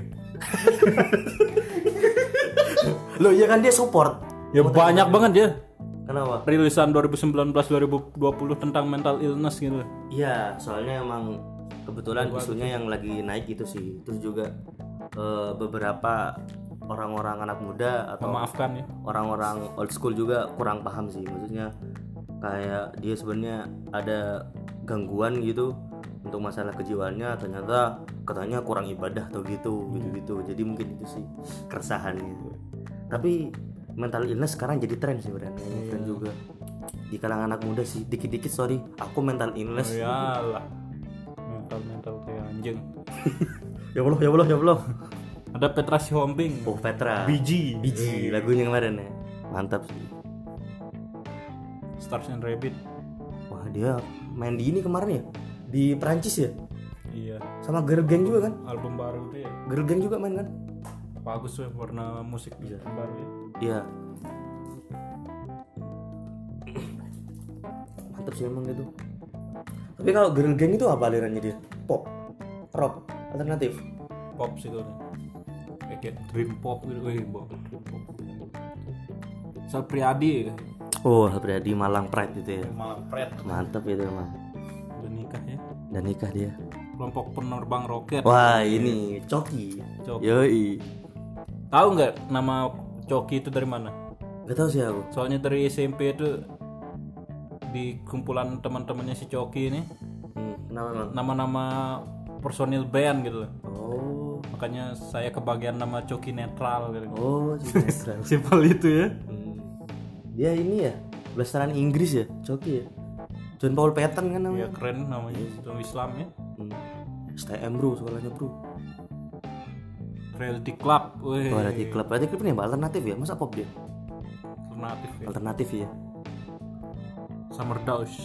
Speaker 2: Loh, ya kan dia support.
Speaker 1: ya banyak banget ya
Speaker 2: Kenapa?
Speaker 1: rilisan 2019-2020 tentang mental illness gitu.
Speaker 2: Iya, soalnya emang kebetulan isunya yang lagi naik gitu sih. Terus juga eh, beberapa orang-orang anak muda atau
Speaker 1: Memaafkan ya.
Speaker 2: orang-orang old school juga kurang paham sih. Maksudnya kayak dia sebenarnya ada gangguan gitu untuk masalah kejiwaannya ternyata katanya kurang ibadah atau gitu gitu-gitu. Jadi mungkin itu sih keresahannya. Tapi mental illness sekarang jadi tren sih Bran. Tren juga di kalangan anak muda sih dikit-dikit sorry aku mental
Speaker 1: Oh,
Speaker 2: illness
Speaker 1: iya.
Speaker 2: gitu.
Speaker 1: Yalah. Mental mental kayak anjing.
Speaker 2: Ya Allah, ya Allah, ya Allah.
Speaker 1: Ada Petra Sihombing.
Speaker 2: Oh, Petra.
Speaker 1: Biji.
Speaker 2: Biji lagunya kemarin ya. Mantap sih.
Speaker 1: Stars and Rabbit.
Speaker 2: Wah, dia main di ini kemarin ya. Di Prancis ya.
Speaker 1: Iya.
Speaker 2: Sama Girl Gang juga kan?
Speaker 1: Album baru itu ya.
Speaker 2: Girl Gang juga main kan?
Speaker 1: Bagus tuh warna musik baru ya.
Speaker 2: Iya. Mantap sih emang gitu. Tapi kalau Girl Gang itu apa alirannya dia? Pop, rock, alternatif.
Speaker 1: Pop sih kalau. Kayak kayak dream pop gitu. Wih, bo- dream pop. Sal Priadi
Speaker 2: Oh, berarti Malang Pride gitu ya.
Speaker 1: malam Pret
Speaker 2: Mantap itu emang.
Speaker 1: udah nikah ya.
Speaker 2: Dan nikah dia.
Speaker 1: Kelompok penerbang roket.
Speaker 2: Wah, ini Coki.
Speaker 1: Coki.
Speaker 2: Yoi.
Speaker 1: Tahu nggak nama Coki itu dari mana?
Speaker 2: Gak tau sih aku.
Speaker 1: soalnya dari SMP itu di kumpulan teman-temannya si Coki ini
Speaker 2: Hmm, kenapa emang?
Speaker 1: nama-nama personil band gitu loh
Speaker 2: Oh,
Speaker 1: makanya saya kebagian nama Coki netral gitu
Speaker 2: oh, Sinetron.
Speaker 1: simpel itu ya
Speaker 2: Hmm. Dia ini ya, blasteran Inggris ya, coki ya. John Paul Patton kan
Speaker 1: ya
Speaker 2: namanya.
Speaker 1: keren namanya itu Islam ya
Speaker 2: Hmm. STM bro, sekolahnya bro.
Speaker 1: reality club weh
Speaker 2: Oh, Rati Club, Rati Club ini apa? alternatif ya, masa pop dia?
Speaker 1: alternatif ya.
Speaker 2: Alternatif ya.
Speaker 1: summer Dash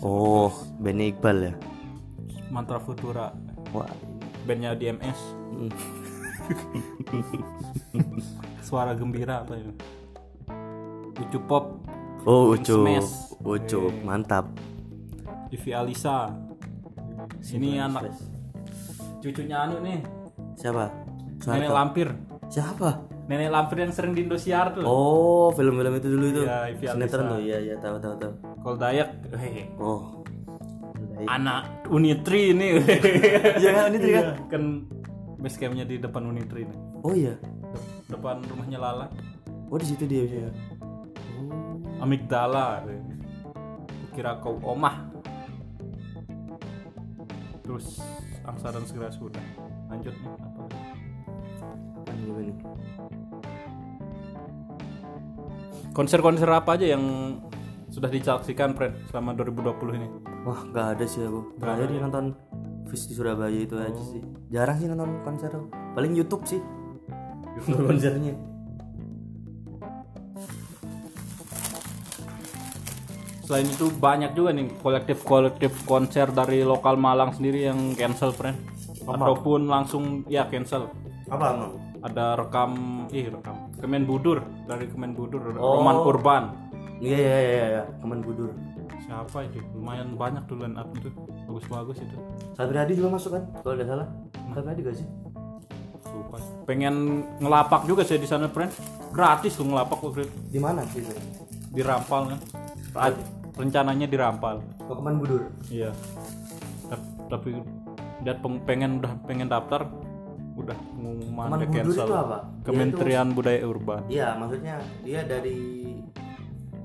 Speaker 2: Oh, Benny Iqbal ya.
Speaker 1: mantra futura
Speaker 2: Wah,
Speaker 1: bandnya DMS suara gembira apa itu Ucu Pop
Speaker 2: oh Ucup, Oh,
Speaker 1: Smash.
Speaker 2: Ucup, mantap.
Speaker 1: Vivi Alisa ini anak cucunya anu nih
Speaker 2: Siapa?
Speaker 1: nenek lampir
Speaker 2: Siapa?
Speaker 1: nenek lampir yang sering di Indosiar tuh
Speaker 2: Oh, film-film itu dulu itu.
Speaker 1: Iya, Ivy
Speaker 2: Sinetron tuh, iya, iya, tahu, tahu, tahu.
Speaker 1: kalau Dayak hehe,
Speaker 2: Oh,
Speaker 1: anak Unitri ini
Speaker 2: Iya kan, Unitri kan?
Speaker 1: kan base campnya di depan Unitri nih
Speaker 2: oh iya.
Speaker 1: Dep- depan rumahnya Lala
Speaker 2: Oh, di situ dia. Iya.
Speaker 1: Amigdala kira kau omah terus angsa dan segera sudah lanjut nih apa
Speaker 2: Apaan juga nih?
Speaker 1: konser-konser apa aja yang sudah disaksikan Fred selama 2020 ini
Speaker 2: Wah nggak ada sih aku Terakhir dia nonton Fish di Surabaya itu aja
Speaker 1: Oh.
Speaker 2: sih Jarang sih nonton konser aku. Paling Youtube sih Nonton konsernya
Speaker 1: Selain itu banyak juga nih kolektif-kolektif konser dari lokal Malang sendiri yang cancel, friend. Ataupun langsung ya cancel.
Speaker 2: apa emang?
Speaker 1: Ada rekam, ih rekam. Kemenbudur dari Kemenbudur, Roman Urban.
Speaker 2: Iya iya iya iya, Kemenbudur.
Speaker 1: Siapa itu? Lumayan banyak tuh line up itu. Bagus-bagus itu.
Speaker 2: Sabri Hadi juga masuk kan? Kalau tidak salah. Sabri Hadi gak sih?
Speaker 1: Lupa. Pengen ngelapak juga saya di sana, friend. Gratis tuh ngelapak waktu itu.
Speaker 2: Di mana sih itu?
Speaker 1: di Rampal kan. Ra- rencananya di Rampal.
Speaker 2: Oh, Kemenbudur.
Speaker 1: Iya. Ta- Tapi udah peng- pengen udah pengen daftar udah pengumuman udah
Speaker 2: Kemenbudur
Speaker 1: cancel.
Speaker 2: itu apa?
Speaker 1: Kementerian Budaya Urban.
Speaker 2: Iya, maksudnya dia dari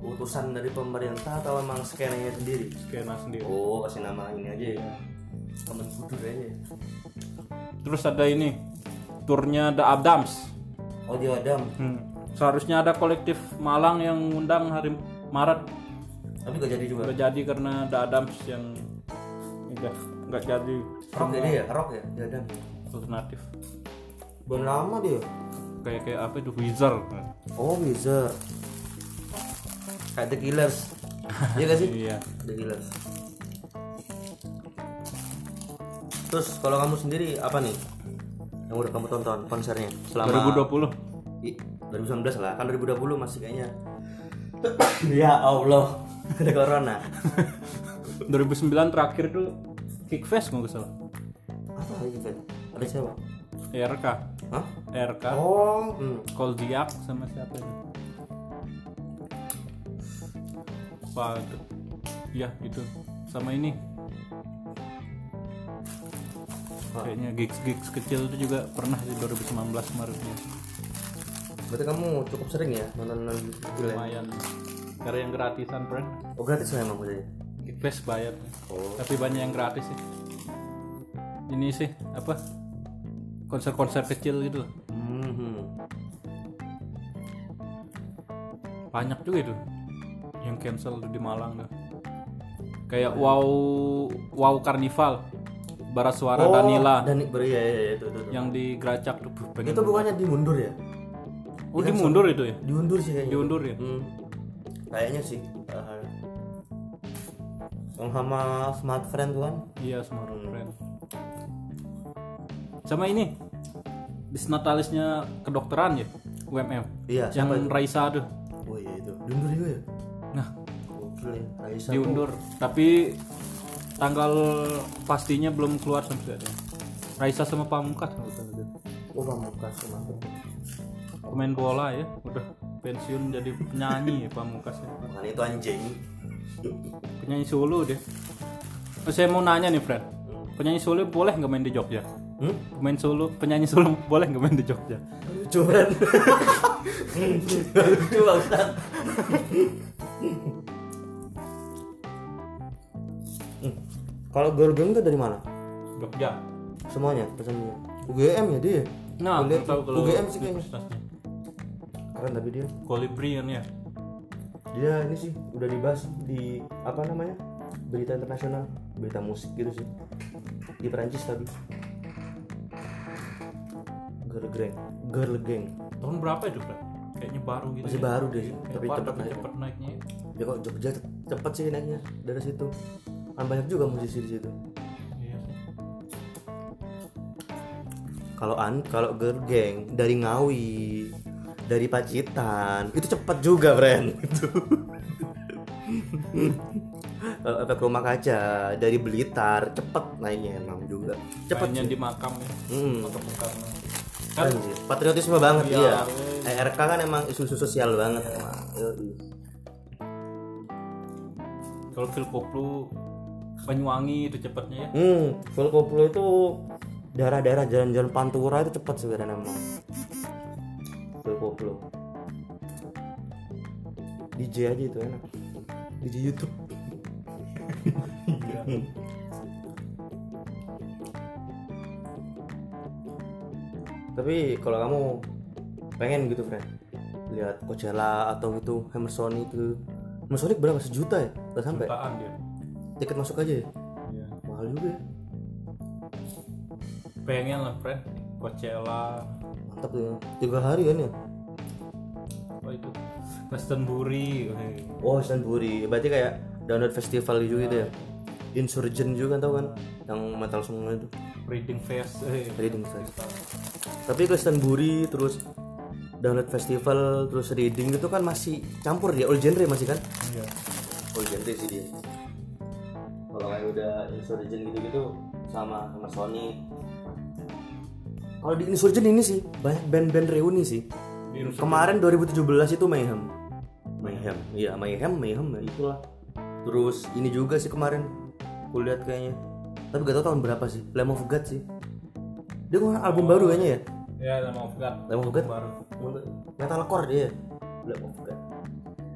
Speaker 2: utusan dari pemerintah atau emang skenanya sendiri?
Speaker 1: Skena sendiri.
Speaker 2: Oh, kasih nama ini aja ya. Kemenbudur aja. ya.
Speaker 1: Terus ada ini turnya The Adams.
Speaker 2: Oh, di Adam.
Speaker 1: Hmm. Seharusnya ada kolektif Malang yang ngundang hari Maret
Speaker 2: Tapi gak jadi juga.
Speaker 1: nggak jadi karena The Adams yang enggak nggak jadi
Speaker 2: Rock ya dia ya? Rock ya? Di Adam.
Speaker 1: alternatif
Speaker 2: Belum lama dia.
Speaker 1: kayak kayak apa itu Wizard
Speaker 2: Oh, Wizard. Kayak The Killers. Iya gak sih?
Speaker 1: iya
Speaker 2: The Killers. Terus kalau kamu sendiri apa nih? Yang udah kamu tonton konsernya selama
Speaker 1: 2020
Speaker 2: Ih, 2019 lah, kan 2020 masih kayaknya. ya Allah, ada corona.
Speaker 1: 2009 terakhir tuh Kickfest nggak salah Iya,
Speaker 2: Apa lagi Ben? Ada siapa?
Speaker 1: RK
Speaker 2: Hah?
Speaker 1: RK
Speaker 2: Oh, hmm.
Speaker 1: Koldiak sama siapa itu apa itu ya itu sama ini kayaknya gigs gigs kecil itu juga pernah di 2019 Maretnya
Speaker 2: berarti kamu cukup sering ya nonton nonton gila.
Speaker 1: lumayan
Speaker 2: ya?
Speaker 1: karena yang gratisan friend
Speaker 2: Oh gratis lah emang berarti.
Speaker 1: Kickfest bayar
Speaker 2: Oh.
Speaker 1: tapi banyak yang gratis sih ini sih apa konser-konser kecil gitu loh
Speaker 2: Hmm.
Speaker 1: banyak juga itu yang cancel di Malang tuh kayak wow wow karnival barat
Speaker 2: Oh.
Speaker 1: suara Danila
Speaker 2: Dan beri ya, ya, ya, itu, itu, itu.
Speaker 1: yang di Geracak tuh Buh, pengen
Speaker 2: Itu bukannya dimundur ya?
Speaker 1: oh dimundur itu ya
Speaker 2: Diundur sih kayaknya.
Speaker 1: diundur ya
Speaker 2: Hmm. Kayaknya sih. eh, Yang sama smart friend tuh kan?
Speaker 1: iya semua keren sama ini disnatalisnya kedokteran ya UMM
Speaker 2: Iya.
Speaker 1: yang Raisa tuh
Speaker 2: Oh iya itu. Diundur juga ya?
Speaker 1: nah
Speaker 2: Gokil ya. Raisa.
Speaker 1: diundur tapi tanggal pastinya belum keluar sampai sekarang Raisa sama Pamungkas kalau nggak salah.
Speaker 2: Oh pamungkas kemarin.
Speaker 1: pemain bola ya udah pensiun jadi penyanyi ya Pamungkas ya.
Speaker 2: Makan itu anjing.
Speaker 1: penyanyi solo deh Oh, saya mau nanya nih Fred penyanyi solo boleh nggak main di Jogja
Speaker 2: Hmm?
Speaker 1: pemain solo penyanyi solo boleh nggak main di Jogja
Speaker 2: Lucu kan? Lucu banget. Hmm. Kalau girl gang itu dari mana?
Speaker 1: Jogja
Speaker 2: Semuanya pesannya. UGM ya dia.
Speaker 1: nah
Speaker 2: Boleh.
Speaker 1: aku tahu kalau
Speaker 2: UGM sih kayaknya.
Speaker 1: universitasnya.
Speaker 2: Keren tapi dia.
Speaker 1: Kolibri kan ya
Speaker 2: Dia ini sih udah dibahas di apa namanya? Berita internasional, berita musik gitu sih. Di Perancis tapi. Girl gang, girl gang.
Speaker 1: tahun berapa itu Fred kayaknya baru gitu
Speaker 2: Masih
Speaker 1: ya.
Speaker 2: baru deh, sih,
Speaker 1: Kayak
Speaker 2: tapi
Speaker 1: apa,
Speaker 2: cepet
Speaker 1: tapi
Speaker 2: naik.
Speaker 1: cepet naiknya ya.
Speaker 2: Ya kok Jogja cepet sih naiknya dari situ. Kan banyak juga musisi di situ.
Speaker 1: Iya sih.
Speaker 2: Kalau an, kalau girl gang dari Ngawi, dari Pacitan, itu cepet juga, Bren. Itu. Kalau Eh, efek rumah kaca dari Blitar cepet naiknya emang juga. Cepet.
Speaker 1: Mainnya di makam ya
Speaker 2: Hmm,
Speaker 1: atau Bung Karno. kan
Speaker 2: keren sih. Patriotisme banget
Speaker 1: Iya.
Speaker 2: dia. ARK kan emang isu-isu sosial banget emang. Yoi.
Speaker 1: kalau Filkoplu Banyuwangi itu cepetnya ya
Speaker 2: Hmm, Volkoplo itu daerah-daerah jalan-jalan pantura itu cepat sebenarnya emang. Volkoplo. DJ aja itu enak. DJ YouTube.
Speaker 1: Iya,
Speaker 2: Tapi kalau kamu pengen gitu, friend. Lihat Coachella atau gitu, Hammersonic gitu. Hammersonic berapa sejuta ya? Gak sampai.
Speaker 1: jutaan dia
Speaker 2: Tiket masuk aja ya.
Speaker 1: Iya.
Speaker 2: Mahal juga ya.
Speaker 1: pengen lah friend Coachella
Speaker 2: Mantap tuh ya. Tiga hari kan ya?
Speaker 1: apa itu eh, Westonbury weh.
Speaker 2: Oh Sunbury, berarti kayak download festival juga gitu ya Insurgent juga tau kan yang metal semua itu
Speaker 1: Reading Fest eh,
Speaker 2: Reading Fest tapi Kristen Buri terus download festival terus reading itu kan masih campur dia all genre masih kan
Speaker 1: iya.
Speaker 2: all genre Oh, sih dia kalau kayak udah Insurgent gitu-gitu sama sama Sony kalau di Insurgent ini sih banyak band-band reuni sih
Speaker 1: Di
Speaker 2: Kemarin 2017 itu Mayhem. Mayhem. Iya, Mayhem, Mayhem ya itulah. Terus ini juga sih kemarin kulihat kayaknya. Tapi gak tau tahun berapa sih. Lamb of God sih. Dia ngeluarin album baru kayaknya ya.
Speaker 1: ya sama of God
Speaker 2: Lamb of God
Speaker 1: baru
Speaker 2: metalcore dia. Lamb of God.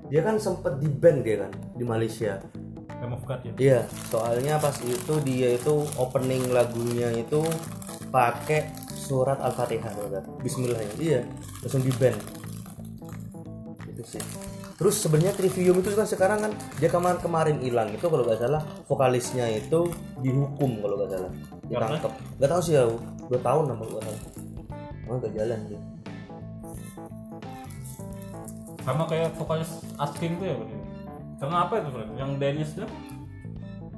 Speaker 2: Dia kan sempet di band dia kan di Malaysia.
Speaker 1: Lamb of God ya
Speaker 2: Iya, soalnya pas itu dia itu opening lagunya itu pakai surat Al-Fatihah kalau nggak salah. Bismillah ya. Iya, langsung di band. Itu sih. Terus sebenarnya Trivium itu kan sekarang kan dia kemarin kemarin hilang itu kalau nggak salah vokalisnya itu dihukum kalau nggak salah ditangkap nggak tahu sih ya dua tahun apa nggak salah Emang nggak jalan dia
Speaker 1: sama kayak vokalis Asking tuh ya Bro. karena apa itu Bro? yang Dennis tuh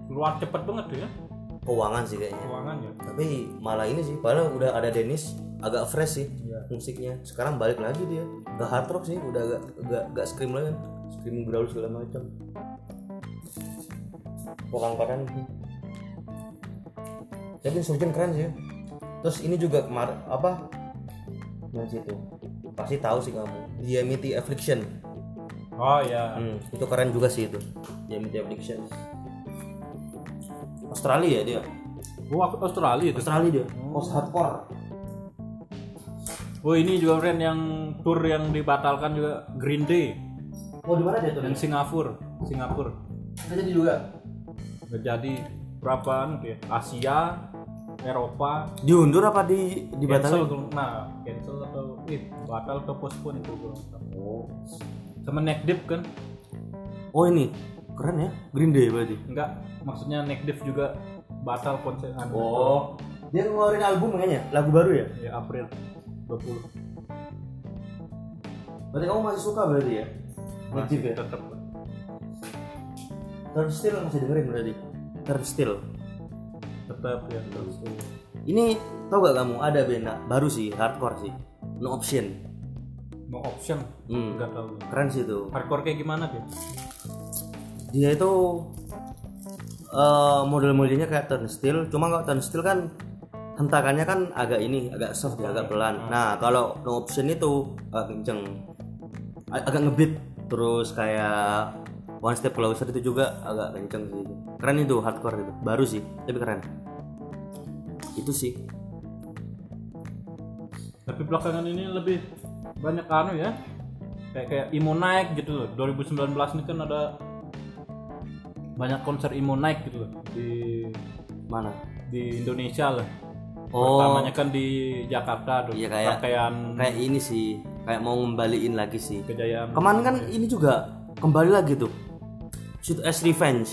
Speaker 1: keluar cepet banget tuh ya
Speaker 2: keuangan sih kayaknya
Speaker 1: ruangannya
Speaker 2: tapi malah ini sih padahal udah ada Dennis agak fresh sih
Speaker 1: Iya.
Speaker 2: musiknya sekarang balik lagi dia ke hard rock sih udah agak agak, agak scream lagi kan scream growl segala macam kurang keren jadi Surgeon keren sih terus ini juga kemarin apa yang situ pasti tahu sih kamu Diamity Affliction
Speaker 1: oh ya
Speaker 2: hmm, itu keren juga sih itu Diamity Affliction Australia ya dia
Speaker 1: gua Australia itu
Speaker 2: Australia dia post hardcore
Speaker 1: oh ini juga friend yang tour yang dibatalkan juga Green Day
Speaker 2: Oh di mana dia tuh?
Speaker 1: dan Singapura Singapura
Speaker 2: Nggak jadi juga.
Speaker 1: nggak jadi berapa anu tuh ya Asia Eropa
Speaker 2: Diundur apa di
Speaker 1: cancel tuh. nah cancel atau eh, batal atau postpone itu gua
Speaker 2: Oh.
Speaker 1: sama Neck Deep kan
Speaker 2: oh ini keren ya Green Day berarti.
Speaker 1: enggak maksudnya Neck Deep juga batal konser anu.
Speaker 2: Oh. Dia ngeluarin album kayaknya, lagu baru ya?
Speaker 1: ya April 20
Speaker 2: Berarti kamu masih suka berarti ya? Masih ya?
Speaker 1: tetap
Speaker 2: Turnstile masih dengerin berarti? Turnstile.
Speaker 1: tetap ya terus
Speaker 2: Ini tau gak kamu ada band baru sih, hardcore sih. No option.
Speaker 1: mau option
Speaker 2: Hmm.
Speaker 1: enggak tahu
Speaker 2: Keren sih itu.
Speaker 1: hardcore kayak gimana dia
Speaker 2: Dia itu eh, model-modelnya kayak turnstile, cuma kalau turnstile kan hentakannya kan agak ini, agak soft, ya, agak pelan. Nah, kalau no option itu agak kenceng, A- agak ngebeat, terus kayak one step closer itu juga agak kenceng sih. Keren itu hardcore itu, baru sih, tapi keren. Itu sih.
Speaker 1: tapi belakangan ini lebih banyak anu ya kayak kayak imo naik gitu loh 2019 ini kan ada banyak konser imo naik gitu loh di
Speaker 2: Mana?
Speaker 1: di Indonesia lah
Speaker 2: Oh,
Speaker 1: pertamanya kan di Jakarta tuh
Speaker 2: Iya, kayak-
Speaker 1: pakaian
Speaker 2: kayak ini sih, kayak mau ngembaliin lagi sih.
Speaker 1: kejayaan
Speaker 2: Kemarin kan ini juga kembali lagi tuh. Shoot as Revenge.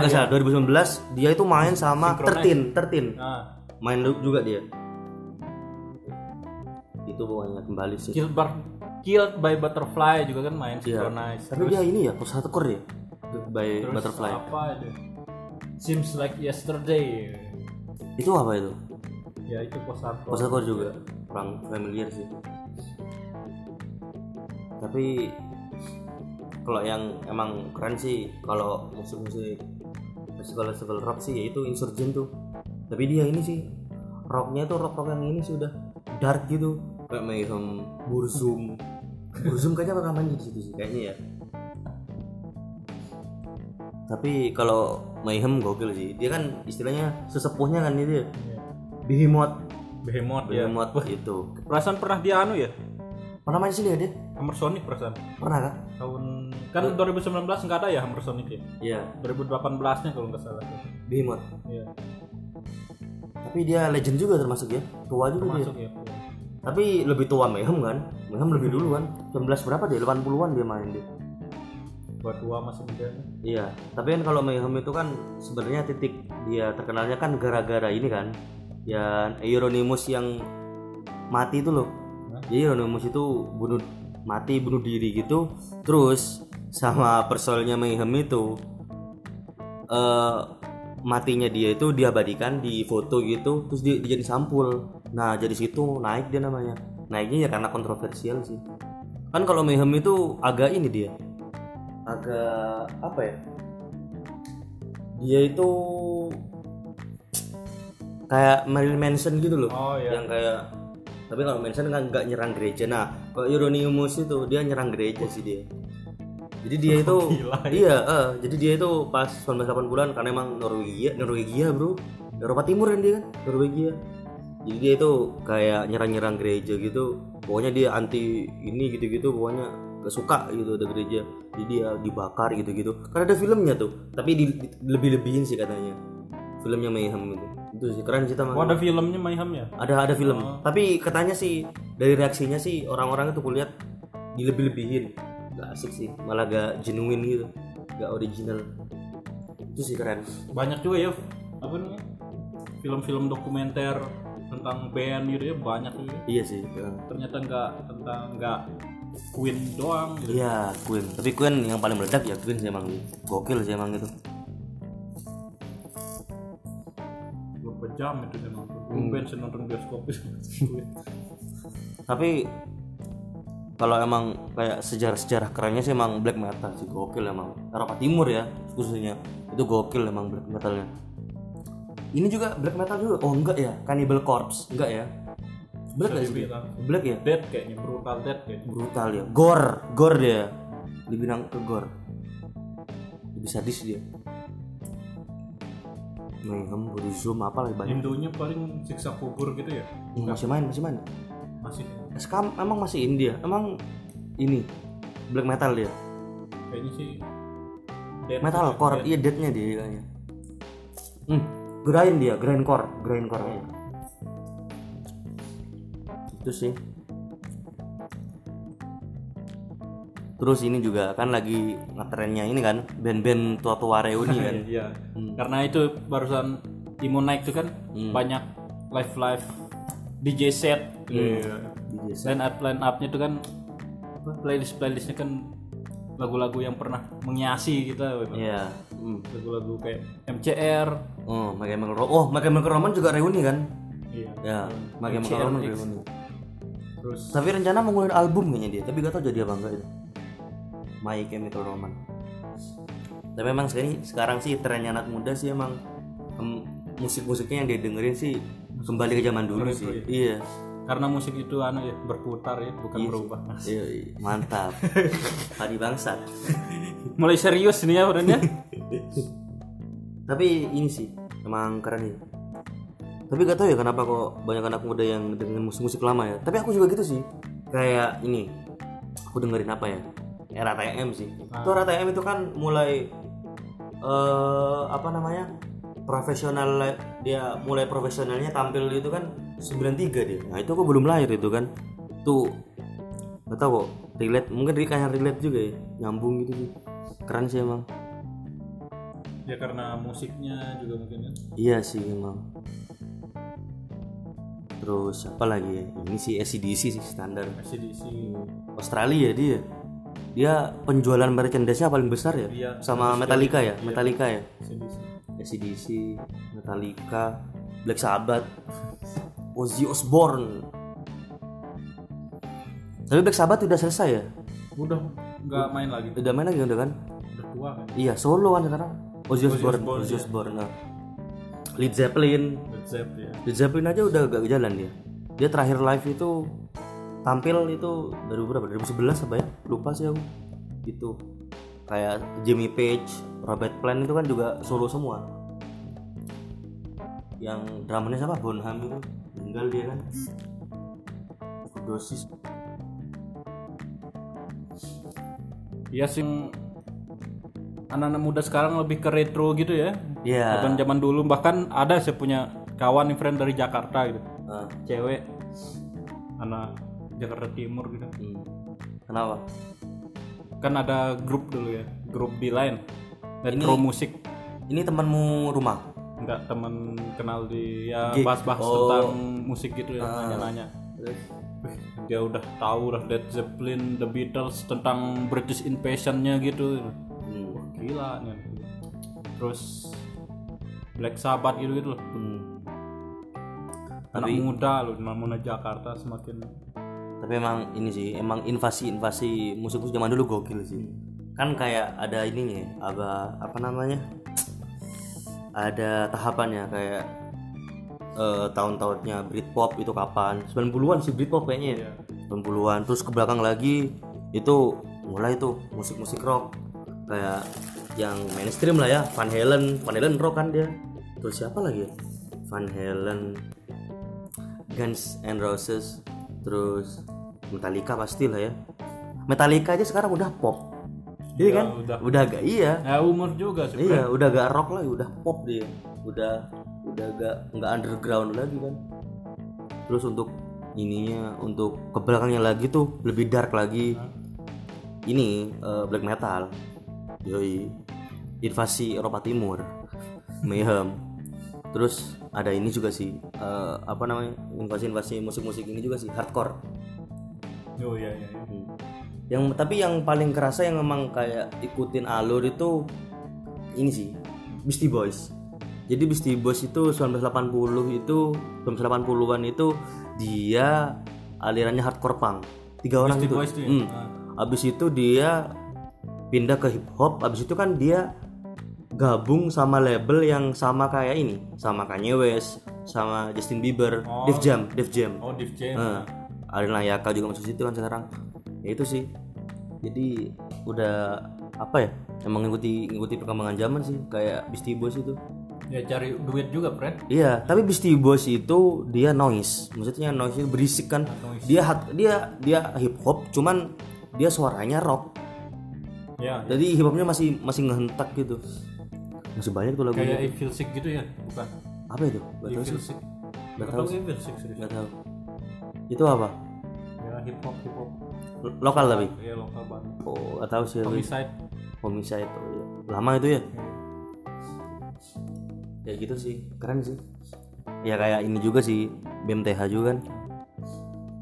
Speaker 1: nah,
Speaker 2: nggak
Speaker 1: iya.
Speaker 2: salah 2019 dia itu main sama Tertin, Tertin.
Speaker 1: nah
Speaker 2: Main lu- juga dia. Itu pokoknya kembali sih.
Speaker 1: Killed, Bar- Killed by Butterfly juga kan main
Speaker 2: Iya.
Speaker 1: synchronize
Speaker 2: Tapi dia ini ya post hardcore ya. By Butterfly.
Speaker 1: apa itu seems like yesterday
Speaker 2: Itu apa itu?
Speaker 1: ya itu post hardcore
Speaker 2: Post hardcore juga. Kurang familiar sih. Tapi kalau yang emang keren sih kalau musik-musik festival-festival rock sih yaitu Insurgent tuh. Tapi dia ini sih rocknya tuh rock rock yang ini sih udah dark gitu kayak Mayhem, Burzum. Burzum kayaknya bakal main di situ sih kayaknya ya. Tapi kalau Mayhem gokil sih. Dia kan istilahnya sesepuhnya kan itu. ya. Behemoth,
Speaker 1: behemoth ya
Speaker 2: Behemoth itu.
Speaker 1: perasaan pernah dia anu ya
Speaker 2: Iya. Pernah main sini ya dia?
Speaker 1: Hammer Sonic perasaan
Speaker 2: Pernah kan?
Speaker 1: tahun kan 2019 nggak ada ya Hammer Sonic ya
Speaker 2: Iya,
Speaker 1: 2018 nya kalau nggak salah
Speaker 2: Behemoth.
Speaker 1: ya
Speaker 2: Tapi dia legend juga termasuk ya. Tua juga dia.
Speaker 1: masuk ya
Speaker 2: Tapi lebih tua Mayhem kan? Mayhem lebih dulu kan? 19 berapa dia? 80-an dia main dia.
Speaker 1: buat dua masih muda
Speaker 2: Iya, tapi kan kalau Mayhem itu kan sebenarnya titik dia terkenalnya kan gara-gara ini kan. Ya Euronymous yang mati itu loh.
Speaker 1: Hah?
Speaker 2: Jadi Euronymous itu bunuh mati bunuh diri gitu. Terus sama persolnya Mayhem itu eh, matinya dia itu diabadikan di foto gitu terus dia, dia jadi sampul nah jadi situ naik dia namanya naiknya ya karena kontroversial sih kan kalau Mayhem itu agak ini dia agak apa ya dia itu kayak Marilyn Manson gitu loh
Speaker 1: Oh, iya.
Speaker 2: yang kayak tapi kalau Manson kan nggak nyerang gereja nah kalau Euronymous itu dia nyerang gereja sih dia jadi dia itu
Speaker 1: Gila, ya.
Speaker 2: iya eh, jadi dia itu pas 1980-an karena emang Norwegia Norwegia bro Eropa Timur kan dia kan Norwegia jadi dia itu kayak nyerang-nyerang gereja gitu pokoknya dia anti ini gitu-gitu pokoknya gak suka gitu ada gereja jadi dia dibakar gitu-gitu karena ada filmnya tuh tapi di, di- lebih-lebihin sih katanya filmnya Mayhem itu itu sih keren sih
Speaker 1: Oh,
Speaker 2: teman
Speaker 1: ada filmnya Mayhem ya?
Speaker 2: ada ada film tapi katanya sih dari reaksinya sih orang-orang itu kulihat dilebih-lebihin gak asik sih malah gak genuine gitu gak original itu sih keren
Speaker 1: Banyak juga ya apa nih? Film-film dokumenter tentang band gitu ya banyak juga.
Speaker 2: iya sih ya.
Speaker 1: Ternyata nggak tentang nggak Queen doang gitu.
Speaker 2: Iya Queen tapi Queen yang paling meledak ya Queen sih emang gokil sih emang gitu
Speaker 1: Berapa jam itu dia nonton?
Speaker 2: Hmm.
Speaker 1: Tumben sih nonton bioskop itu.
Speaker 2: tapi kalau emang kayak sejarah-sejarah kerennya sih emang black metal sih gokil emang Eropa Timur ya khususnya itu gokil emang black metalnya ini juga black metal juga oh enggak ya Cannibal Corpse enggak ya black nggak sih dia?
Speaker 1: dibilang.
Speaker 2: black ya
Speaker 1: Dead kayaknya brutal dead kayaknya.
Speaker 2: brutal ya gore gore dia dibilang ke gore lebih sadis dia Mayhem, Buddhism, apa lagi banyak
Speaker 1: Indonya paling siksa kubur gitu ya.
Speaker 2: Hmm, masih main masih main
Speaker 1: Masih
Speaker 2: Skam emang masih India, emang ini black metal dia.
Speaker 1: kayaknya sih dead.
Speaker 2: Metal core, iya deadnya dia kayaknya. Hmm, grind dia, grind core, grind core. Itu sih. Terus ini juga kan lagi ngetrennya ini kan band-band tua-tua reuni kan.
Speaker 1: Iya. Karena itu barusan Timo naik tuh kan
Speaker 2: Hmm.
Speaker 1: banyak live live DJ set. Iya. Line up line upnya tuh kan apa, playlist playlistnya kan lagu-lagu yang pernah menghiasi kita gitu.
Speaker 2: Iya. Hmm.
Speaker 1: lagu-lagu kayak MCR
Speaker 2: Oh, Michael Ro- Oh, Michael Roman juga reuni kan?
Speaker 1: iya.
Speaker 2: Ya, Michael
Speaker 1: MCR,
Speaker 2: Roman
Speaker 1: Iya, X.
Speaker 2: reuni.
Speaker 1: terus
Speaker 2: Tapi rencana mau ngeluarin album kayaknya dia, tapi gak tau jadi apa enggak itu. My Chemical Romance. Tapi emang sekarang, sekarang sih trennya anak muda sih emang em, musik-musiknya yang dia dengerin sih kembali ke zaman dulu sih. Iya.
Speaker 1: karena musik itu anu ya berputar ya bukan berubah
Speaker 2: Iya, iya. mantap. Padi bangsat.
Speaker 1: mulai serius nih ya orangnya
Speaker 2: Tapi ini sih emang keren nih. Tapi gak tau ya kenapa kok banyak anak muda yang dengerin musik-musik lama ya. Tapi aku juga gitu sih. Kayak ini, aku dengerin apa ya? Era TM sih. Itu era TM itu kan mulai eh apa namanya? profesional dia mulai profesionalnya tampil itu kan 93 dia. Nah, itu aku belum lahir itu kan. Tuh gak tau kok relate mungkin kayak relate juga ya nyambung gitu sih keren sih emang
Speaker 1: ya karena musiknya juga mungkin kan
Speaker 2: Iya sih emang. Terus apa lagi ya? Ini sih ACDC sih standar.
Speaker 1: masih diisi
Speaker 2: Hmm. Australia ya dia. Dia penjualan merchandise-nya paling besar ya?
Speaker 1: Iya,
Speaker 2: Sama Metallica ya? Metallica ya?
Speaker 1: masih diisi
Speaker 2: ACDC, Metallica, Black Sabbath, Ozzy Osbourne. Tapi Black Sabbath udah selesai ya?
Speaker 1: udah nggak main lagi
Speaker 2: Udah main lagi udah kan?
Speaker 1: udah tua kan
Speaker 2: Iya, solo kan sekarang. Ozzy Osbourne, Ozzy Osbourne. nah. Led Zeppelin,
Speaker 1: Led Zeppelin ya
Speaker 2: Led Zeppelin aja udah gak jalan dia. Dia terakhir live itu tampil itu dari berapa? 2011 apa ya? Lupa sih aku. Gitu. Kayak Jimmy Page, Robert Plant itu kan juga solo semua. Yang drummernya siapa? Bonham itu meninggal dia kan. Dosis.
Speaker 1: Iya sih anak-anak muda sekarang lebih ke retro gitu ya.
Speaker 2: Iya.
Speaker 1: Bukan zaman dulu bahkan ada saya punya kawan nih, friend dari Jakarta gitu.
Speaker 2: Ah,
Speaker 1: Cewek anak Jakarta Timur gitu.
Speaker 2: hmm. Kenapa?
Speaker 1: Kan ada grup dulu ya, grup di line retro musik.
Speaker 2: Ini temanmu rumah.
Speaker 1: Enggak teman kenal di ya
Speaker 2: Gig.
Speaker 1: bahas-bahas
Speaker 2: Oh. Ah.
Speaker 1: tentang musik gitu ya, nanya-nanya. Wih, Dia udah tahu lah Led Zeppelin, The Beatles tentang British Invasion-nya gitu.
Speaker 2: Hmm.
Speaker 1: Gila nih. terus Black Sabbath gitu gitu loh
Speaker 2: Hmm.
Speaker 1: anak
Speaker 2: Tapi-
Speaker 1: muda loh Namuna Jakarta semakin
Speaker 2: tapi emang ini sih emang invasi invasi musik musik zaman dulu gokil sih kan kayak ada ininya apa apa namanya ada tahapannya kayak eh, tahun-tahunnya Britpop itu kapan 90-an sih Britpop kayaknya ya. 90-an terus ke belakang lagi itu mulai tuh musik-musik rock kayak yang mainstream lah ya Van Halen Van Halen rock kan dia terus siapa lagi ya Van Halen Guns and Roses terus Metallica pasti lah ya Metallica aja sekarang udah pop
Speaker 1: Ya,
Speaker 2: dia kan
Speaker 1: udah.
Speaker 2: udah. gak iya
Speaker 1: ya umur juga sih
Speaker 2: iya udah gak rock lagi udah pop dia udah udah gak nggak underground lagi kan terus untuk ininya untuk ke belakangnya lagi tuh lebih dark lagi ini eh, black metal yoi invasi Eropa Timur mayhem terus ada ini juga sih eh, apa namanya invasi-invasi musik-musik ini juga sih hardcore
Speaker 1: oh iya iya iya.
Speaker 2: Hmm. yang tapi yang paling kerasa yang memang kayak ikutin alur itu ini sih Beastie Boys jadi Beastie Boys itu 1980 itu 1980-an itu dia alirannya hardcore punk tiga orang
Speaker 1: Beastie
Speaker 2: itu
Speaker 1: Boys tuh ya?
Speaker 2: Hmm.
Speaker 1: Ah.
Speaker 2: abis itu dia pindah ke hip hop abis itu kan dia gabung sama label yang sama kayak ini sama Kanye West sama Justin Bieber
Speaker 1: Oh.
Speaker 2: Def Jam Def Jam
Speaker 1: oh Div Jam
Speaker 2: Eh, Arin Layaka juga masuk situ kan sekarang. Ya itu sih. Jadi udah apa ya? Emang ngikuti ngikuti perkembangan zaman sih kayak Beastie Boys itu.
Speaker 1: ya cari duit juga Fred
Speaker 2: Iya, tapi Beastie Boys itu dia noise. Maksudnya noise itu berisik kan. Dia hat- dia dia hip hop cuman dia suaranya rock.
Speaker 1: ya
Speaker 2: Jadi hip hopnya masih masih ngehentak gitu. Masih banyak tuh lagunya.
Speaker 1: kayak Evil Sick gitu ya bukan
Speaker 2: Apa itu? Gak tahu
Speaker 1: Evil
Speaker 2: sih.
Speaker 1: Sick atau Evil Sick serius
Speaker 2: Gak tahu. Itu apa?
Speaker 1: ya hip hop hip hop
Speaker 2: Lo- Lokal tapi.
Speaker 1: ya lokal banget
Speaker 2: Oh, gak tahu sih.
Speaker 1: Homicide
Speaker 2: Homicide itu lama itu ya ya gitu sih keren sih ya kayak ini juga sih BMTH juga kan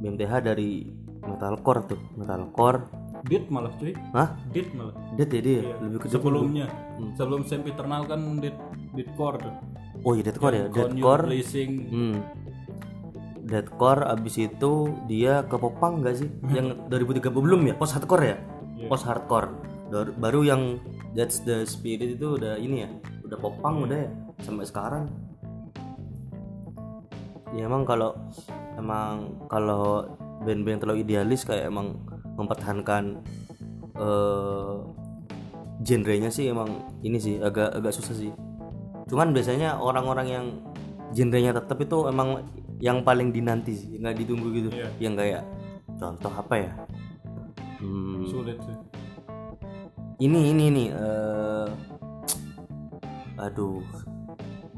Speaker 2: BMTH dari metalcore tuh metalcore
Speaker 1: Dit malah cuy
Speaker 2: hah
Speaker 1: Dit malah
Speaker 2: dead ya dia lebih ke Hmm. dead.
Speaker 1: Iya. sebelumnya sebelum Sam Eternal kan Dit Dit Core tuh
Speaker 2: oh iya deadcore ya
Speaker 1: Deadcore
Speaker 2: deadcore
Speaker 1: Blazing
Speaker 2: hmm. deadcore abis itu dia ke popang nggak sih yang 2030 belum ya post hardcore ya post hardcore Dar- baru yang that's the spirit itu udah ini ya udah popang udah ya sampai sekarang ya emang kalau emang kalau band-band yang terlalu idealis kayak emang mempertahankan eh genrenya sih emang ini sih agak agak susah sih cuman biasanya orang-orang yang genrenya tetap itu emang yang paling dinanti sih nggak ditunggu gitu
Speaker 1: Iya.
Speaker 2: yang kayak contoh apa ya Hmm,
Speaker 1: sulit sih
Speaker 2: ini ini ini eh aduh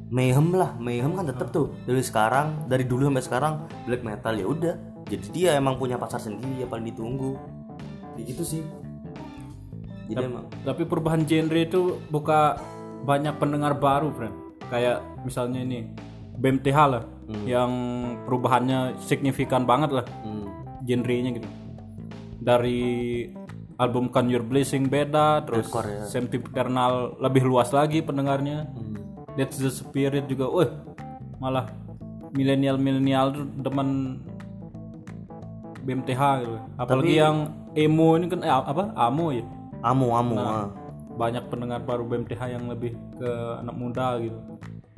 Speaker 2: mayhem lah mayhem kan tetap tuh dari sekarang dari dulu sampai sekarang black metal ya udah jadi dia emang punya pasar sendiri yang paling ditunggu ya gitu sih jadi emang
Speaker 1: tapi perubahan genre itu buka banyak pendengar baru friend kayak misalnya ini BMTH lah yang perubahannya signifikan banget lah
Speaker 2: hmm,
Speaker 1: genrenya gitu dari album Can Your Blessing beda terus
Speaker 2: Deadcore,
Speaker 1: Sam Eternal lebih luas lagi pendengarnya
Speaker 2: hmm.
Speaker 1: That's the Spirit juga wah malah milenial-milenial tuh demen BMTH gitu apalagi yang emo ini kan eh, apa amo ya
Speaker 2: amo amo ah.
Speaker 1: banyak pendengar baru BMTH yang lebih ke anak muda gitu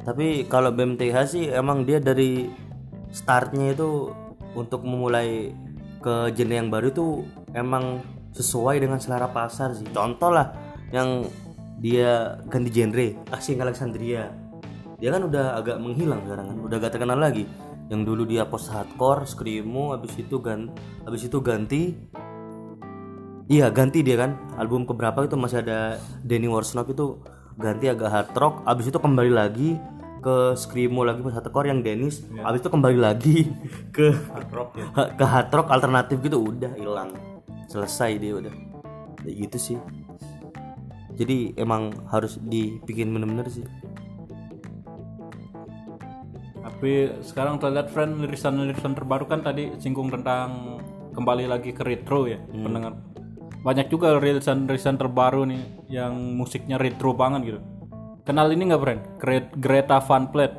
Speaker 2: tapi kalau BMTH sih emang dia dari startnya itu untuk memulai ke genre yang baru itu emang sesuai dengan selera pasar sih contoh lah yang dia ganti genre asing Alexandria dia kan udah agak menghilang sekarang kan udah gak terkenal lagi yang dulu dia post hardcore screamo habis itu gan habis itu ganti Iya ganti dia kan album keberapa itu masih ada Danny Warsnop itu ganti agak hard rock abis itu kembali lagi ke screamo lagi pas hardcore yang Dennis abis itu kembali lagi ke
Speaker 1: hard rock ya
Speaker 2: ke hard rock alternatif gitu udah hilang selesai dia udah ya gitu sih jadi emang harus dibikin bener-bener sih
Speaker 1: tapi sekarang terlihat friend lirisan-lirisan terbaru kan tadi singgung tentang kembali lagi ke retro ya pendengar banyak juga lirisan-lirisan terbaru nih yang musiknya retro banget gitu Kenal ini nggak friend? Gre- Greta Van Fleet.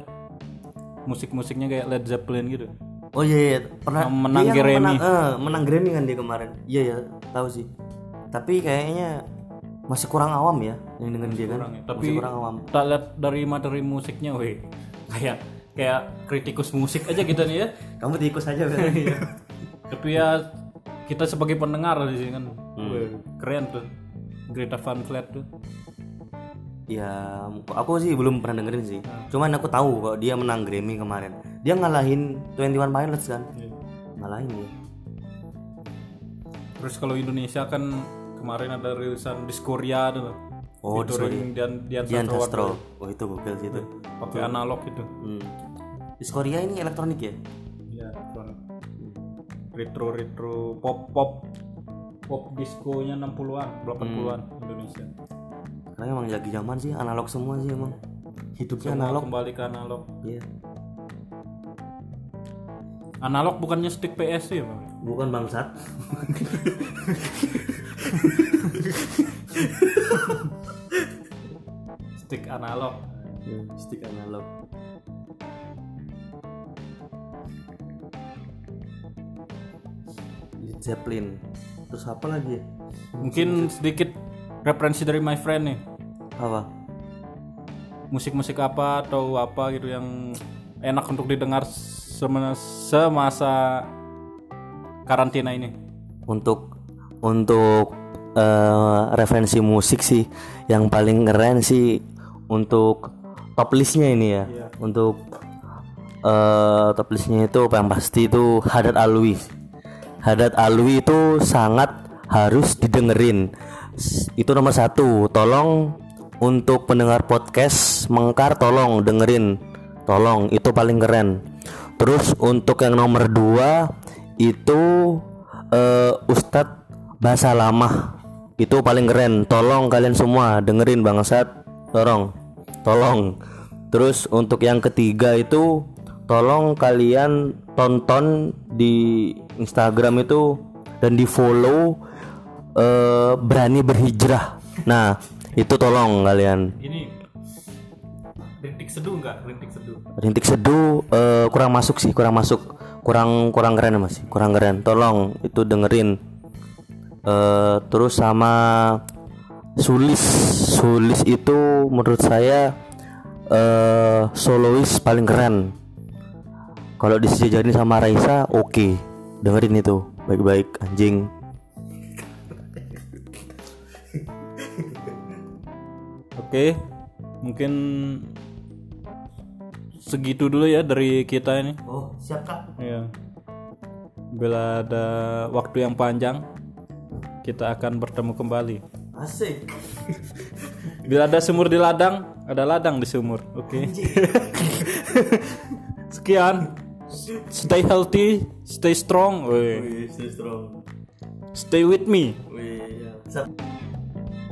Speaker 1: Musik-musiknya kayak Led Zeppelin gitu.
Speaker 2: Oh iya, iya. pernah
Speaker 1: Yang menang
Speaker 2: dia kan
Speaker 1: Grammy.
Speaker 2: Menang, eh, menang Grammy kan dia kemarin. Iya ya, tahu sih. Tapi kayaknya masih kurang awam ya yang dengan dia kan.
Speaker 1: Kurang ya. Tapi
Speaker 2: Masih kurang awam.
Speaker 1: tak lihat dari materi musiknya, weh. Kayak kayak kritikus musik aja gitu nih ya.
Speaker 2: Kamu tikus aja kan.
Speaker 1: Iya. Tapi ya kita sebagai pendengar di sini kan, weh, keren tuh. Greta Van Fleet tuh.
Speaker 2: ya, aku sih belum pernah dengerin sih.
Speaker 1: Ah.
Speaker 2: Cuman aku tahu kalau dia menang Grammy kemarin. Dia ngalahin 21 Pilots kan. Ngalahin dia.
Speaker 1: Terus kalau Indonesia kan kemarin ada rilisan Discordia tuh.
Speaker 2: Oh,
Speaker 1: featuring dan Dian
Speaker 2: Dian
Speaker 1: Sastro
Speaker 2: Castro. Wah, Oh, itu gokil sih itu.
Speaker 1: pakai analog gitu.
Speaker 2: Hmm. Discordia ini elektronik ya?
Speaker 1: Iya, retro retro pop pop pop diskonya 60-an, 80-an
Speaker 2: Hmm.
Speaker 1: Indonesia.
Speaker 2: Karena emang lagi zaman sih analog semua sih emang. Hidupnya
Speaker 1: Analog
Speaker 2: analog.
Speaker 1: kembali ke analog.
Speaker 2: Iya.
Speaker 1: Analog bukannya stick PS ya, Bang?
Speaker 2: Bukan bangsat.
Speaker 1: Stick analog.
Speaker 2: Ya, Stick analog. Led Zeppelin. Terus apa lagi ya?
Speaker 1: Mungkin sedikit referensi dari my friend nih.
Speaker 2: Apa?
Speaker 1: Musik-musik apa atau apa gitu yang enak untuk didengar semena- semasa karantina ini.
Speaker 2: Untuk untuk eh, referensi musik sih yang paling keren sih untuk top listnya ini ya. Untuk eh, top listnya itu apa yang pasti itu Hadat Alwi. Hadat Alwi itu sangat harus didengerin. S- Itu nomor satu. Tolong untuk pendengar podcast mengkar tolong dengerin. Tolong itu paling keren. Terus untuk yang nomor dua itu eh, Ustadz bahasa lama itu paling keren. Tolong kalian semua dengerin bangsat. Tolong, tolong. Terus untuk yang ketiga itu tolong kalian tonton di Instagram itu dan di follow eh, berani berhijrah. Nah itu tolong kalian.
Speaker 1: Ini rintik seduh nggak? Rintik seduh.
Speaker 2: Rintik seduh eh, kurang masuk sih, kurang masuk, kurang kurang keren masih, kurang keren. Tolong itu dengerin. Eh, terus sama Sulis, Sulis itu menurut saya eh solois paling keren. Kalau disejajarin sama Raisa, oke, dengerin itu baik-baik anjing.
Speaker 1: Oke, mungkin segitu dulu ya dari kita ini.
Speaker 2: Oh siap kak.
Speaker 1: Ya. Bila ada waktu yang panjang, kita akan bertemu kembali.
Speaker 2: Asik.
Speaker 1: Bila ada sumur di ladang, ada ladang di sumur. Oke. Sekian. Stay healthy, stay strong, weh.
Speaker 2: Wih, Oh iya, stay strong.
Speaker 1: stay with me.
Speaker 2: Wih, ya. Siap.